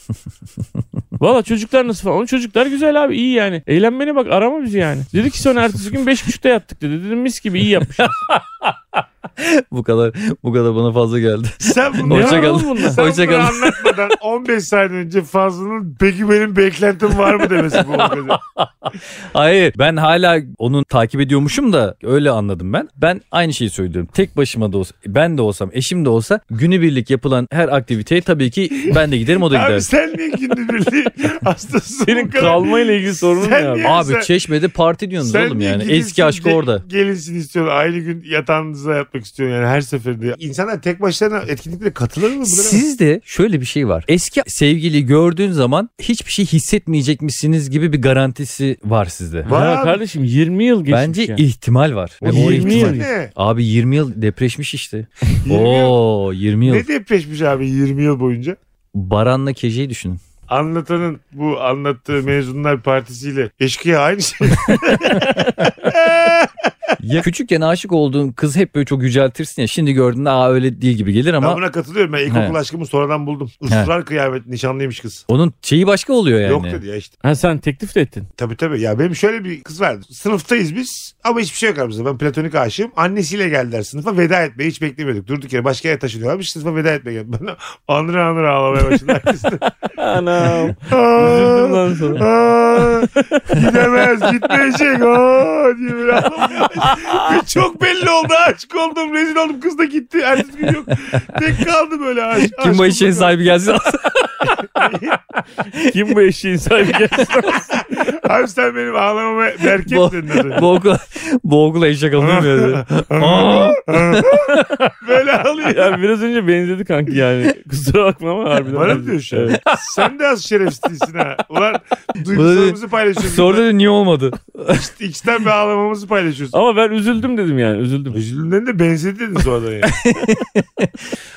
Speaker 7: Valla çocuklar nasıl falan. Oğlum Çocuklar güzel abi iyi yani. Eğlenmene bak arama bizi yani. Dedi ki sonra ertesi gün 5.30'da yattık dedi. Dedim mis gibi iyi yapmış.
Speaker 6: bu kadar bu kadar bana fazla geldi.
Speaker 5: Sen bunu
Speaker 7: Ne
Speaker 6: Hoşça
Speaker 7: var
Speaker 6: kalın.
Speaker 7: oğlum bunda?
Speaker 5: Sen
Speaker 6: Hoşça
Speaker 5: bunu
Speaker 6: kalın.
Speaker 5: anlatmadan 15 saniye önce Fazlı'nın peki benim beklentim var mı
Speaker 6: [LAUGHS]
Speaker 5: demesi bu olmadı.
Speaker 6: Hayır ben hala onu takip ediyormuşum da öyle anladım ben. Ben aynı şeyi söylüyorum. Tek başıma da olsa ben de olsam eşim de olsa günübirlik yapılan her aktiviteye tabii ki ben de giderim o da
Speaker 5: Abi
Speaker 6: gider.
Speaker 5: sen niye gündüzbirliği [LAUGHS] hastasın
Speaker 7: [LAUGHS] Senin
Speaker 5: bu kadar?
Speaker 7: kalmayla ilgili sorunun
Speaker 5: Sen
Speaker 7: ne abi?
Speaker 5: niye-
Speaker 6: Abi
Speaker 5: sen-
Speaker 6: çeşmede parti diyorsunuz
Speaker 5: Sen
Speaker 6: oğlum
Speaker 5: niye
Speaker 6: yani.
Speaker 5: gidilsin
Speaker 6: Eski aşk
Speaker 5: de
Speaker 6: orada.
Speaker 5: Gelinsin istiyorsun. Aynı gün yatağınıza yatmak istiyorsun yani her seferinde. İnsanlar tek başlarına etkinliklere katılır mı? Bunlara-
Speaker 6: Sizde şöyle bir şey var. Eski sevgili gördüğün zaman hiçbir şey hissetmeyecekmişsiniz gibi bir garantisi var sizde.
Speaker 5: Var
Speaker 7: Ya
Speaker 5: abi.
Speaker 7: kardeşim 20 yıl geçmiş
Speaker 6: Bence
Speaker 7: ya.
Speaker 6: ihtimal var. Ve
Speaker 7: O
Speaker 6: o
Speaker 7: 20
Speaker 6: ihtimal-
Speaker 7: yıl.
Speaker 5: şey Ne?
Speaker 6: Abi 20 yıl
Speaker 5: [LAUGHS]
Speaker 6: depreşmiş işte.
Speaker 5: 20 yıl.
Speaker 6: Oo 20 yıl.
Speaker 5: Ne depreşmiş abi 20 yıl boyunca?
Speaker 6: Baran'la
Speaker 5: [LAUGHS]
Speaker 6: Kece'yi düşünün.
Speaker 5: Anlatanın bu anlattığı mezunlar partisiyle eşkıya aynı şey.
Speaker 6: Ya küçükken aşık olduğun kız hep böyle çok yüceltirsin ya. Şimdi gördüğünde aa öyle değil gibi gelir ama
Speaker 5: Ben buna katılıyorum. Ben ilkokul
Speaker 6: He.
Speaker 5: aşkımı sonradan buldum. Israr kıyamet nişanlıymış kız.
Speaker 6: onun şeyi başka oluyor yani.
Speaker 5: Yok dedi ya işte.
Speaker 7: Ha sen teklif de ettin.
Speaker 5: Tabii tabii. Ya benim şöyle bir kız vardı. Sınıftayız biz ama hiçbir şey yok aramızda. Ben platonik aşığım. Annesiyle geldiler sınıfa veda etmeyi hiç beklemiyorduk. Durduk yere başka yere taşınıyorlarmış. Sınıfa veda etmeye geldi. Bana anır anır ağlamaya başladı.
Speaker 7: [LAUGHS]
Speaker 5: herkes.
Speaker 7: Anam. Üzüldüm
Speaker 5: [LAUGHS] Aa,
Speaker 7: lan sana.
Speaker 5: aa, Gidemez gitmeyecek. Aa, diye böyle ağlamaya başladı.
Speaker 7: [LAUGHS]
Speaker 5: Ve çok belli oldu. Aşık oldum. Rezil oldum. Kız da gitti. Ertesi gün yok. Tek kaldı böyle aşık. [LAUGHS]
Speaker 6: Kim bu işin sahibi gelsin.
Speaker 7: Kim bu eşeğin sahibi [LAUGHS] gelsin?
Speaker 5: Abi sen benim
Speaker 7: [LAUGHS]
Speaker 5: ağlamama berket
Speaker 6: Bo-
Speaker 5: dedin az önce.
Speaker 6: Boğgula, boğgula eşek alınıyor böyle.
Speaker 5: [LAUGHS]
Speaker 6: Aa!
Speaker 5: Böyle
Speaker 7: [LAUGHS]
Speaker 5: ağlıyor.
Speaker 7: yani biraz önce benzedi kanki yani.
Speaker 5: [LAUGHS]
Speaker 7: Kusura bakma ama harbiden.
Speaker 5: Bana mı
Speaker 7: benziyor.
Speaker 5: diyorsun? şu an?
Speaker 7: Evet.
Speaker 5: [LAUGHS] Sen de az şerefsiz değilsin ha. Ulan duygularımızı paylaşıyoruz.
Speaker 6: Sonra da
Speaker 5: [LAUGHS]
Speaker 6: niye olmadı?
Speaker 5: İkisinden bir ağlamamızı
Speaker 7: [LAUGHS]
Speaker 5: paylaşıyoruz.
Speaker 7: Ama ben üzüldüm dedim yani üzüldüm.
Speaker 5: Üzüldüğünden de benzedi dedin sonradan yani.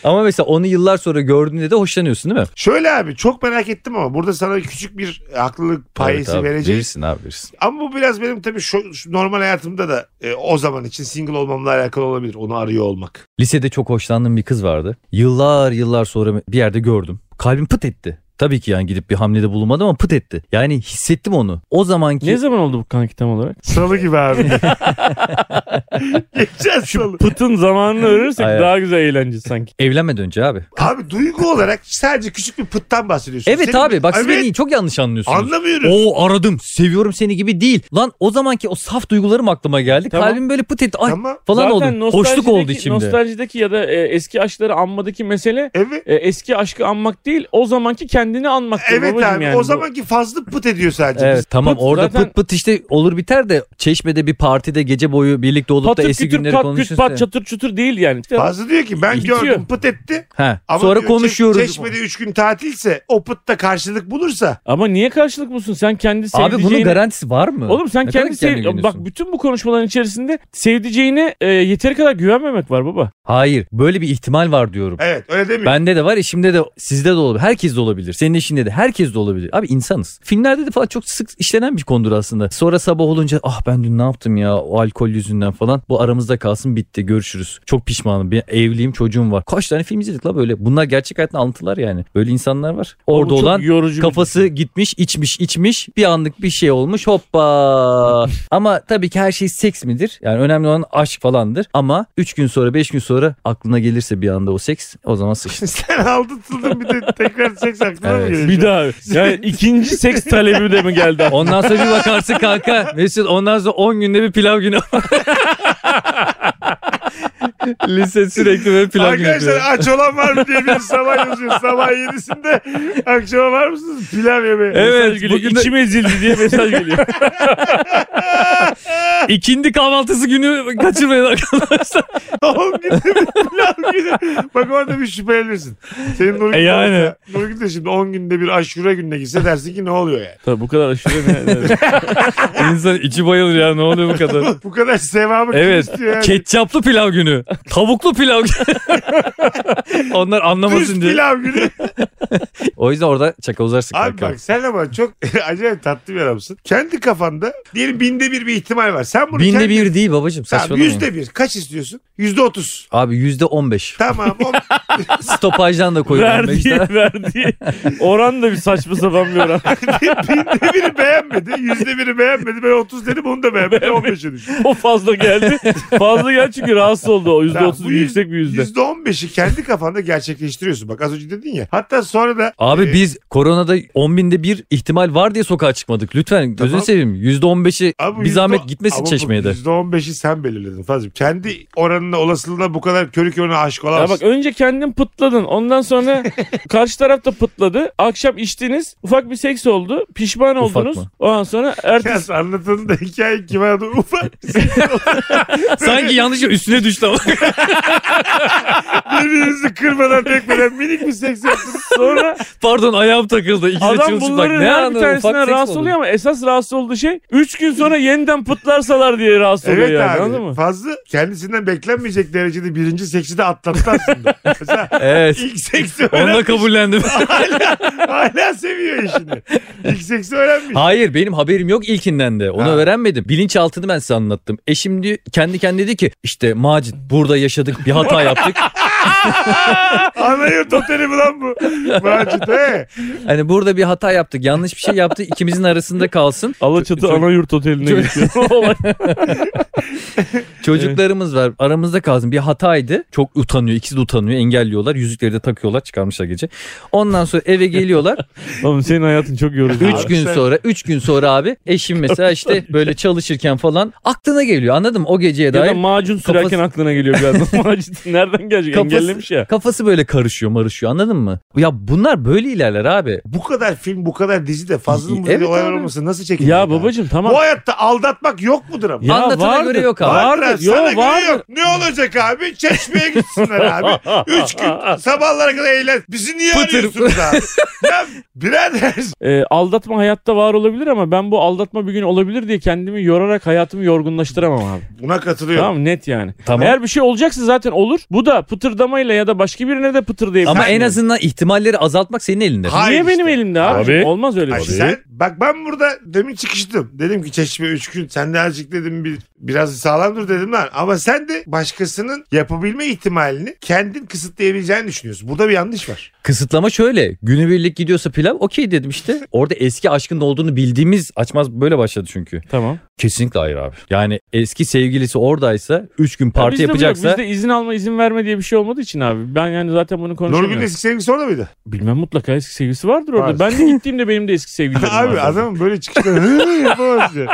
Speaker 6: Ama mesela onu yıllar sonra gördüğünde de hoşlanıyorsun değil mi?
Speaker 5: Şöyle abi çok merak ettim ama burada sana küçük bir haklılık payesi
Speaker 6: Evet abi,
Speaker 5: vereceğiz.
Speaker 6: Verirsin abi verirsin.
Speaker 5: Ama bu biraz benim tabii şu, şu normal hayatımda da e, o zaman için single olmamla alakalı olabilir. Onu arıyor olmak.
Speaker 6: Lisede çok hoşlandığım bir kız vardı. Yıllar yıllar sonra bir yerde gördüm. Kalbim pıt etti. Tabii ki yani gidip bir hamlede bulunmadım ama pıt etti. Yani hissettim onu. O zamanki
Speaker 7: Ne zaman oldu bu kanki tam olarak?
Speaker 5: Salı gibi abi. [LAUGHS] Geçen salı.
Speaker 7: Pıtın zamanını öğrenirsek
Speaker 6: Aynen.
Speaker 7: daha güzel eğlence sanki.
Speaker 6: evlenmeden önce abi.
Speaker 5: Abi duygu olarak sadece küçük bir pıttan bahsediyorsun.
Speaker 6: Evet
Speaker 5: Senin-
Speaker 6: abi bak siz
Speaker 5: Evet,
Speaker 6: beni çok yanlış anlıyorsunuz.
Speaker 5: Anlamıyorum.
Speaker 6: Oo aradım seviyorum seni gibi değil. Lan o zamanki o saf duygularım aklıma geldi.
Speaker 7: Tamam.
Speaker 6: Kalbim böyle pıt etti. Ay
Speaker 5: Ama
Speaker 6: falan
Speaker 7: Zaten
Speaker 6: oldu. Hoşluk
Speaker 7: nostaljideki-
Speaker 6: oldu içimde.
Speaker 7: Nostaljideki ya da e, eski aşkları anmadaki mesele
Speaker 5: evet.
Speaker 7: e, eski aşkı anmak değil o zamanki kendini anmak.
Speaker 5: Evet abi
Speaker 7: yani.
Speaker 5: o
Speaker 7: Bu-
Speaker 5: zamanki fazla pıt ediyor sadece.
Speaker 6: Evet
Speaker 5: Biz-
Speaker 6: tamam
Speaker 7: pıt
Speaker 6: orada
Speaker 7: zaten-
Speaker 6: pıt pıt işte olur biter de çeşmede bir partide gece boyu birlikte olup
Speaker 7: patır
Speaker 6: da eski
Speaker 7: kütür
Speaker 6: günleri
Speaker 7: pat küt
Speaker 6: konuşursun.
Speaker 7: pat çatır çutur değil yani. İşte
Speaker 5: Fazla diyor ki ben
Speaker 7: Bitiyor.
Speaker 5: gördüm pıt etti.
Speaker 6: Ha.
Speaker 5: Ama
Speaker 6: Sonra
Speaker 5: diyor,
Speaker 6: konuşuyoruz.
Speaker 5: Çeş- Çeşmede 3 gün tatilse o pıtta karşılık bulursa
Speaker 7: Ama niye karşılık bulsun? Sen kendi sevdiceğini...
Speaker 6: Abi bunun garantisi var mı?
Speaker 7: Oğlum sen
Speaker 6: Ne
Speaker 7: kendi
Speaker 6: kadar kendine
Speaker 7: sev... Bak
Speaker 6: güveniyorsun?
Speaker 7: bütün bu konuşmaların içerisinde sevdiceğine e, yeteri kadar güvenmemek var baba.
Speaker 6: Hayır böyle bir ihtimal var diyorum.
Speaker 5: evet öyle demiyor.
Speaker 6: Bende de var, eşimde de, sizde de olabilir. Herkes de olabilir. Senin eşinde de, herkes de olabilir. Abi insanız. Filmlerde de falan çok sık işlenen bir konudur aslında. Sonra sabah olunca ah ben dün ne yaptım ya o alkol yüzünden falan. Bu aramızda kalsın bitti görüşürüz. Çok pişmanım. Bir evliyim çocuğum var. Kaç tane film izledik la böyle. Bunlar gerçek hayatın alıntılar yani. Böyle insanlar var. Orada
Speaker 7: Bu çok
Speaker 6: olan
Speaker 7: yorucu bir-
Speaker 6: Kafası gitmiş içmiş içmiş bir anlık bir şey
Speaker 5: [LAUGHS]
Speaker 6: olmuş hoppa. Ama tabii ki her şey seks midir? Yani önemli olan aşk falandır. Ama 3 gün sonra 5 gün sonra aklına gelirse bir anda o seks o zaman
Speaker 5: [LAUGHS]
Speaker 6: sıçtı.
Speaker 5: Sen aldatıldın bir de tekrar seks aklına mı
Speaker 6: Evet.
Speaker 5: geliyor?
Speaker 7: Bir daha. Yani ikinci seks talebi de mi geldi?
Speaker 6: Ondan sonra bir bakarsın kanka Mesut ondan sonra 10 günde bir pilav günü.
Speaker 5: [LAUGHS]
Speaker 6: Lise sürekli böyle pilav günü yapıyor.
Speaker 5: Arkadaşlar aç olan var mı diye bir sabah yazıyor. Sabah 7'sinde akşama var mısınız? Pilav yemeye.
Speaker 6: Evet
Speaker 5: [LAUGHS]
Speaker 7: Mesaj geliyor.
Speaker 6: bugün de
Speaker 7: İçim ezildi diye mesaj geliyor.
Speaker 5: ah!
Speaker 6: ikindi kahvaltısı günü
Speaker 5: [LAUGHS]
Speaker 6: kaçırmayın arkadaşlar.
Speaker 5: 10 günde bir pilav günü. Bak orada bir şüphelenirsin. Senin Nurgül,
Speaker 6: E yani.
Speaker 5: de, Nurgül de şimdi 10 günde bir aşure gününe gitse dersin ki ne oluyor yani. [LAUGHS]
Speaker 7: Tabii bu kadar aşırı ne?
Speaker 6: İnsan içi bayılır
Speaker 5: [LAUGHS]
Speaker 6: ya ne oluyor bu kadar.
Speaker 5: Bu kadar sevabı
Speaker 6: Evet.
Speaker 5: kim istiyor yani?
Speaker 6: Ketçaplı pilav günü. Tavuklu
Speaker 5: [LAUGHS]
Speaker 6: pilav günü. Onlar
Speaker 5: Düz
Speaker 6: anlamasın diye.
Speaker 5: pilav
Speaker 6: [LAUGHS]
Speaker 5: günü.
Speaker 6: O yüzden orada çakalazarsın
Speaker 5: Abi
Speaker 6: kanka.
Speaker 5: bak sen ama çok [LAUGHS] acayip tatlı bir adamsın. Kendi kafanda diyelim binde bir bir ihtimal var. Sen bunu
Speaker 6: Binde
Speaker 5: kendi...
Speaker 6: bir değil babacım
Speaker 5: Tamam,
Speaker 6: saçmalama.
Speaker 5: yüzde bir. Kaç istiyorsun? Yüzde otuz.
Speaker 6: Abi yüzde
Speaker 5: [LAUGHS]
Speaker 6: on beş.
Speaker 5: Tamam. o-
Speaker 6: Stopajdan da koyuyorum. on beş
Speaker 7: verdiği,
Speaker 6: tane.
Speaker 7: verdiği. Oran da bir saçma sapan bir oran. [LAUGHS]
Speaker 5: binde biri beğenmedi. Yüzde biri beğenmedi. Ben otuz dedim onu da
Speaker 6: [LAUGHS]
Speaker 5: beğenmedi. On beşe düştü.
Speaker 7: O fazla geldi. Fazla geldi çünkü rahatsız oldu o. Yüzde
Speaker 5: Tamam,
Speaker 7: otuz
Speaker 5: bu
Speaker 7: bir
Speaker 5: yüz-
Speaker 7: yüksek bir yüzde.
Speaker 5: Yüzde on beşi kendi kafanda gerçekleştiriyorsun. Bak az önce dedin ya. Hatta sonra da
Speaker 6: Abi
Speaker 5: e,
Speaker 6: biz koronada on binde bir ihtimal var diye sokağa çıkmadık. Lütfen gözünü
Speaker 5: Tamam.
Speaker 6: seveyim. Yüzde on beşi
Speaker 5: Abi bu
Speaker 6: bir
Speaker 5: yüzde-
Speaker 6: zahmet gitmesin
Speaker 5: Ama bu
Speaker 6: çeşmeye de.
Speaker 5: Yüzde on beşi sen belirledin Fazıl. Kendi oranına olasılığına bu kadar körü körüne aşık
Speaker 7: Ya
Speaker 5: olamazsın.
Speaker 7: bak önce kendin pıtladın. Ondan sonra karşı taraf da pıtladı. Akşam içtiniz. Ufak bir seks oldu. Pişman
Speaker 6: Ufak
Speaker 7: oldunuz.
Speaker 6: mı?
Speaker 7: Ondan sonra ertesi
Speaker 5: [LAUGHS] Biraz anlatanın da hikaye kime adı ufak
Speaker 6: [LAUGHS] Sanki yanlış üstüne düştü ama. [LAUGHS]
Speaker 5: birbirinizi kırmadan dökmeden minik bir seks yaptınız.
Speaker 7: sonra
Speaker 6: Pardon ayağım takıldı. İkisi de
Speaker 7: adam
Speaker 6: çırılçıplak.
Speaker 7: bunların
Speaker 6: Ne
Speaker 7: her bir
Speaker 6: anlamı? Ufak
Speaker 7: tanesinden
Speaker 6: seks
Speaker 7: rahatsız
Speaker 6: oldu.
Speaker 7: oluyor ama esas rahatsız olduğu şey 3 gün sonra yeniden pıtlarsalar diye rahatsız oluyor
Speaker 5: Evet
Speaker 7: yani anladın
Speaker 5: abi.
Speaker 7: mı?
Speaker 5: Fazla kendisinden beklenmeyecek derecede birinci seksi de atlattı
Speaker 7: [LAUGHS]
Speaker 5: aslında. Mesela
Speaker 6: Evet.
Speaker 5: ilk seksi
Speaker 6: Onunla
Speaker 5: öğrenmiş. [LAUGHS]
Speaker 6: kabullendim.
Speaker 5: Hala seviyor işini. İlk seksi öğrenmiş.
Speaker 6: Hayır benim haberim yok ilkinden de. Onu
Speaker 5: Ha.
Speaker 6: öğrenmedim. Bilinçaltını ben size anlattım. Eşim diyor, kendi kendine dedi ki işte Macit burada yaşadık
Speaker 5: [LAUGHS]
Speaker 6: bir hata yaptık.
Speaker 5: Anayurt oteli mi lan bu? Macit he.
Speaker 6: hani burada bir hata yaptık yanlış bir şey yaptı ikimizin arasında kalsın.
Speaker 7: Alaçatı
Speaker 6: Çocuk-
Speaker 7: Anayurt Oteli'ne
Speaker 6: Çocuk-
Speaker 7: gidiyor.
Speaker 6: [LAUGHS]
Speaker 7: Olay.
Speaker 6: Çocuklarımız var aramızda kalsın bir hataydı. Çok utanıyor ikisi de utanıyor engelliyorlar yüzükleri de takıyorlar çıkarmışlar gece. Ondan sonra eve geliyorlar.
Speaker 7: Oğlum senin hayatın çok yorucu.
Speaker 6: [LAUGHS] Üç
Speaker 5: Abi
Speaker 6: gün
Speaker 5: sen-
Speaker 6: sonra üç gün sonra abi eşim mesela işte böyle çalışırken falan aklına geliyor anladın mı o geceye
Speaker 7: Ya da
Speaker 6: dair.
Speaker 7: macun sürerken
Speaker 6: Kafası- [LAUGHS]
Speaker 7: aklına geliyor birazdan. Macun nereden gelecek? engellemiş ya.
Speaker 6: Kafası böyle karışıyor marışıyor anladın mı? Ya bunlar böyle ilerler abi.
Speaker 5: Bu kadar film bu kadar dizi de fazla mı
Speaker 6: Evet
Speaker 5: olay
Speaker 6: abi.
Speaker 5: olmasın nasıl çekilir?
Speaker 7: Ya babacım tamam.
Speaker 5: Bu hayatta aldatmak yok mudur ama?
Speaker 7: Ya
Speaker 6: Anlatana
Speaker 7: vardır.
Speaker 6: göre yok abi.
Speaker 7: Vardır.
Speaker 5: Vardır.
Speaker 7: Yo,
Speaker 5: Sana göre
Speaker 7: vardır.
Speaker 5: yok. Ne olacak abi? Çeşmeye gitsinler abi. Üç gün sabahlara kadar eğlen. Bizi niye
Speaker 6: Pıtır.
Speaker 5: arıyorsunuz abi? ya birader.
Speaker 7: [LAUGHS] Ee, aldatma hayatta var olabilir ama ben bu aldatma bir gün olabilir diye kendimi yorarak hayatımı yorgunlaştıramam abi.
Speaker 5: Buna katılıyorum.
Speaker 7: tamam net yani.
Speaker 6: Tamam.
Speaker 7: Eğer bir şey olacaksa zaten olur. Bu da pıtırdamayla ya da başka birine de pıtır diye.
Speaker 6: Ama en azından ihtimalleri azaltmak senin elinde.
Speaker 5: Ha-
Speaker 7: Niye
Speaker 5: Hayır
Speaker 7: benim
Speaker 5: işte.
Speaker 7: elimde abi?
Speaker 8: Abi.
Speaker 7: Olmaz öyle
Speaker 5: Ay
Speaker 7: bir şey.
Speaker 5: sen, bak ben burada demin çıkıştım. Dedim ki çeşme 3 gün sen de azıcık dedim bir, biraz sağlam dur dedim lan. Ama sen de başkasının yapabilme ihtimalini kendin kısıtlayabileceğini düşünüyorsun. Burada bir yanlış var.
Speaker 6: Kısıtlama şöyle. Günübirlik gidiyorsa pilav okey dedim işte. Orada eski aşkın olduğunu bildiğimiz açmaz böyle başladı çünkü.
Speaker 7: Tamam.
Speaker 6: Kesinlikle hayır abi. Yani eski sevgilisi oradaysa 3 gün
Speaker 7: Ya
Speaker 6: parti
Speaker 7: bizde bu yok.
Speaker 6: yapacaksa
Speaker 7: Bizde izin alma izin verme diye bir şey olmadığı için abi. Ben yani zaten bunu
Speaker 5: Nurgül'ün
Speaker 7: konuşamıyorum.
Speaker 5: eski sevgilisi orada mıydı?
Speaker 7: Bilmem mutlaka eski sevgilisi vardır
Speaker 5: Var.
Speaker 7: orada. Ben de gittiğimde benim de eski sevgilim vardı.
Speaker 5: [LAUGHS] Abi adamın böyle çıkışları [LAUGHS] "Hı, yapamaz diyor.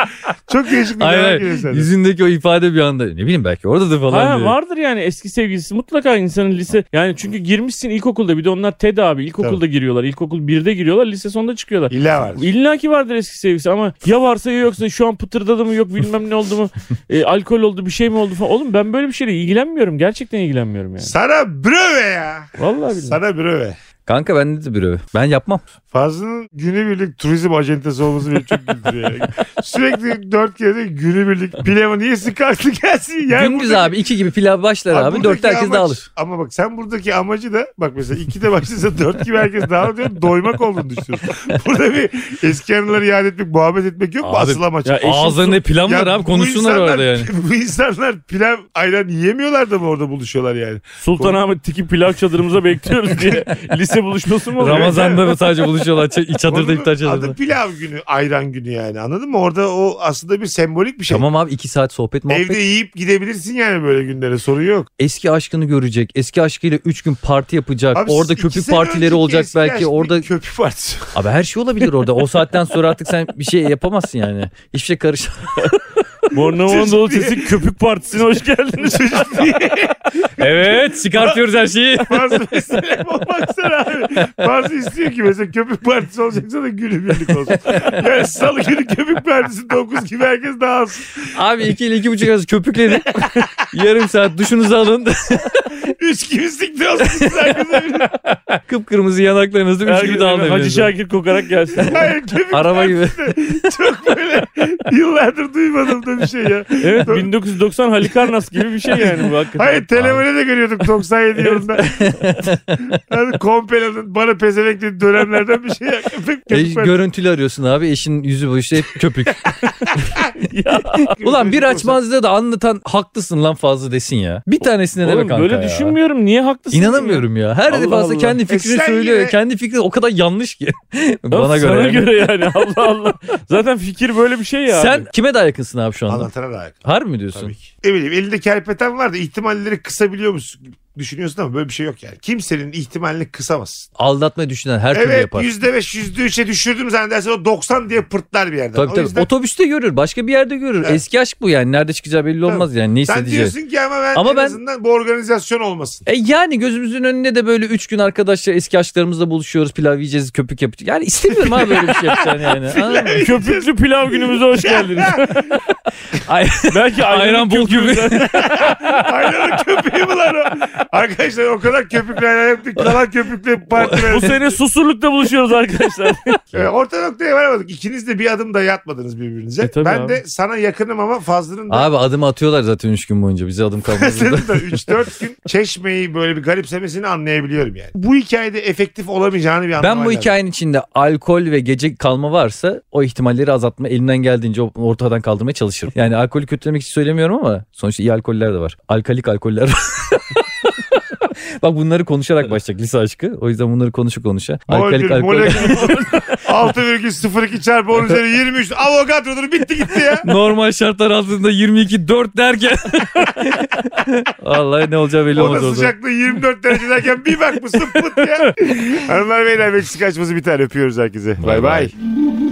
Speaker 5: Çok değişik bir
Speaker 6: Hayır,
Speaker 5: cevap
Speaker 6: hayır.
Speaker 5: geliyor senden.
Speaker 6: yüzündeki o ifade bir anda ne bileyim belki oradadır falan
Speaker 7: Ha,
Speaker 6: diye.
Speaker 7: vardır yani eski sevgilisi mutlaka insanın lise yani çünkü girmişsin ilkokulda bir de onlar TED abi ilkokulda giriyorlar ilkokul 1'de giriyorlar lise sonunda çıkıyorlar.
Speaker 5: İlla var.
Speaker 7: İlla ki vardır eski sevgilisi ama ya varsa ya yoksa şu an pıtırdadı mı yok bilmem ne oldu mu e, alkol oldu bir şey mi oldu falan. Oğlum ben böyle bir şeyle ilgilenmiyorum gerçekten ilgilenmiyorum yani.
Speaker 5: Sana bröve ya.
Speaker 7: Vallahi billahi.
Speaker 5: Sana bröve.
Speaker 6: Kanka ben de bir öv. Ben yapmam.
Speaker 5: Fazlı'nın günübirlik turizm acentesi olması beni çok güldürüyor. ya. Sürekli dört kere de günübirlik pilavı niye sıkarttı gelsin? Yani
Speaker 6: Gündüz
Speaker 5: buradaki-
Speaker 6: abi iki gibi pilav başlar abi.
Speaker 5: buradaki
Speaker 6: Dörtte herkes
Speaker 5: amaç-
Speaker 6: dağılır.
Speaker 5: Ama bak sen buradaki amacı da bak mesela ikide başlasa dört gibi herkes dağılır diyor. Doymak olduğunu düşünüyorsun. Burada bir eski anıları iade etmek, muhabbet etmek yok mu
Speaker 6: Abi,
Speaker 5: asıl amaç?
Speaker 7: ya eşim
Speaker 6: Ağızlarında pilav
Speaker 5: Ya
Speaker 6: var abi
Speaker 5: bu
Speaker 6: konuşsunlar
Speaker 5: insanlar-
Speaker 6: orada yani.
Speaker 5: [LAUGHS] Bu insanlar pilav ayran yiyemiyorlar da mı orada buluşuyorlar yani?
Speaker 7: Sultanahmet'teki pilav çadırımıza bekliyoruz
Speaker 6: [LAUGHS]
Speaker 7: diye lise buluşması mı oluyor?
Speaker 6: Ramazan'da mı sadece buluşuyorlar Ç- çadırda
Speaker 5: Onun
Speaker 6: iftar
Speaker 5: Adı
Speaker 6: çadırda.
Speaker 5: pilav günü, ayran günü yani anladın mı? Orada o aslında bir sembolik bir şey.
Speaker 6: Tamam abi iki saat sohbet muhabbet.
Speaker 5: Evde yiyip gidebilirsin yani böyle günlere sorun yok.
Speaker 6: Eski aşkını görecek. Eski aşkıyla üç gün parti yapacak.
Speaker 5: Abi
Speaker 6: orada
Speaker 5: iki
Speaker 6: köpük
Speaker 5: sene
Speaker 6: partileri
Speaker 5: önceki
Speaker 6: olacak
Speaker 5: eski
Speaker 6: belki.
Speaker 5: aşkın
Speaker 6: Orada
Speaker 5: Köpük partisi.
Speaker 6: abi her şey olabilir orada. O saatten sonra artık sen bir şey yapamazsın yani. Hiçbir şey karış.
Speaker 7: Bornova Anadolu Sesi Köpük Partisi'ne hoş geldiniz.
Speaker 5: Çocuk diye
Speaker 6: [LAUGHS] evet çıkartıyoruz her şeyi.
Speaker 5: [LAUGHS] bazı mesele olmak üzere abi. Bazı istiyor ki mesela köpük partisi olacaksa da günü birlik olsun. Yani salı günü köpük partisi 9 gibi herkes dağılsın.
Speaker 6: Abi iki ile iki buçuk arası köpükledim. [LAUGHS] Yarım saat duşunuzu alın. [LAUGHS]
Speaker 5: 3 gibi siktir olsun. siz herkese bir-
Speaker 6: Kıpkırmızı yanaklarınızda [LAUGHS] üç gibi dağılın.
Speaker 7: Hacı
Speaker 6: evinize.
Speaker 7: Şakir kokarak gelsin.
Speaker 5: Hayır köpük
Speaker 6: Araba gibi.
Speaker 5: çok böyle yıllardır duymadım da bir şey ya.
Speaker 7: Evet 1990 Halikarnas gibi bir şey yani bu
Speaker 6: [LAUGHS]
Speaker 7: hakikaten.
Speaker 5: Hayır televizyonda de görüyorduk 97 yılında. yani Kompela'nın bana pezevenk dediği dönemlerden bir şey ya. Köpük,
Speaker 6: E,
Speaker 5: [LAUGHS] köpük partisi.
Speaker 6: görüntülü arıyorsun abi eşin yüzü bu işte hep
Speaker 5: [LAUGHS]
Speaker 6: köpük. Ulan bir açmazda da anlatan haklısın lan fazla desin ya. Bir tanesine de be
Speaker 7: Oğlum
Speaker 6: kanka
Speaker 7: böyle
Speaker 6: ya.
Speaker 7: düşünmüyorum. Niye haklısın?
Speaker 6: İnanamıyorum ya. Her
Speaker 7: Allah
Speaker 6: defasında
Speaker 7: Allah.
Speaker 6: kendi
Speaker 5: E
Speaker 6: fikrini
Speaker 5: sen
Speaker 6: söylüyor.
Speaker 5: yine-
Speaker 6: Kendi fikri o kadar yanlış ki. [LAUGHS]
Speaker 7: Ya?
Speaker 6: Bana göre.
Speaker 7: Sana
Speaker 6: yani.
Speaker 7: göre yani. Allah Allah. Zaten fikir böyle bir şey ya.
Speaker 6: Sen
Speaker 7: abi.
Speaker 6: kime daha yakınsın abi şu anda?
Speaker 5: Anlatana da
Speaker 6: Harbi mi diyorsun?
Speaker 5: Tabii ki. Ne bileyim elinde kerpeten var da ihtimalleri kısabiliyor musun? Düşünüyorsun ama böyle bir şey yok yani. Kimsenin ihtimalini kısamaz.
Speaker 6: Aldatmayı düşünen her türlü
Speaker 5: Evet
Speaker 6: yapar.
Speaker 5: yüzde beş yüzde üçe düşürdüm zannedersen o 90 diye pırtlar bir yerden.
Speaker 6: Tabii
Speaker 5: o
Speaker 6: tabii.
Speaker 5: yüzden
Speaker 6: Otobüste görür. Başka bir yerde görür.
Speaker 5: Evet.
Speaker 6: Eski aşk bu yani. Nerede çıkacağı belli olmaz yani. Ne
Speaker 5: sen
Speaker 6: hissedeceği.
Speaker 5: diyorsun ki ama ben
Speaker 6: Ama
Speaker 5: en
Speaker 6: ben-
Speaker 5: azından bu organizasyon olmasın. [LAUGHS]
Speaker 6: E yani gözümüzün önünde de böyle üç gün arkadaşlar eski aşklarımızla buluşuyoruz. Pilav yiyeceğiz, köpük yapacağız. Yani istemiyorum abi böyle bir şey
Speaker 5: [LAUGHS]
Speaker 6: yapacağını yani. Anladın mı?
Speaker 7: Köpüklü pilav günümüze hoş [LAUGHS] geldiniz.
Speaker 6: Ay-
Speaker 7: Belki
Speaker 6: Ayran bul gibi.
Speaker 7: [LAUGHS]
Speaker 5: Ayranın köpüğü mü lan o? Arkadaşlar o kadar köpükle ayran yaptık. Kalan köpükle parti
Speaker 7: [LAUGHS] Bu
Speaker 5: verdik.
Speaker 7: sene susurlukta buluşuyoruz arkadaşlar.
Speaker 5: Ee, Orta noktaya varamadık. İkiniz de bir adım da yatmadınız birbirinize.
Speaker 7: E, tabii
Speaker 5: ben
Speaker 7: abi.
Speaker 5: de sana yakınım ama fazlının da
Speaker 6: Abi adım atıyorlar zaten üç gün boyunca.
Speaker 5: [LAUGHS]
Speaker 6: Bize adım kalmaz. burada.
Speaker 5: Senin de 3-4 gün çeşmeyi böyle bir garipsemesini anlayabiliyorum yani. Bu hikayede efektif olamayacağını bir anlamı
Speaker 6: ben bu hikayenin içinde alkol ve gece kalma varsa o ihtimalleri azaltma elimden geldiğince ortadan kaldırmaya çalışırım. Yani alkolü kötülemek için söylemiyorum ama sonuçta iyi alkoller de var. Alkalik alkoller [LAUGHS] var. Bak bunları konuşarak başlayacak lise aşkı. O yüzden bunları konuşa konuşa. Alkalik alkol.
Speaker 5: 6,02 çarpı 10 üzeri 23 avokadodur bitti gitti ya.
Speaker 6: [LAUGHS] Normal şartlar altında 22 4 derken. [LAUGHS] Vallahi ne olacağı belli olmaz
Speaker 5: Oda
Speaker 6: orada.
Speaker 5: sıcaklığı 24 derece derken bir bakmışsın pıt ya. Hanımlar beyler Meksika açması biter öpüyoruz herkese. Bay bay.
Speaker 6: bay.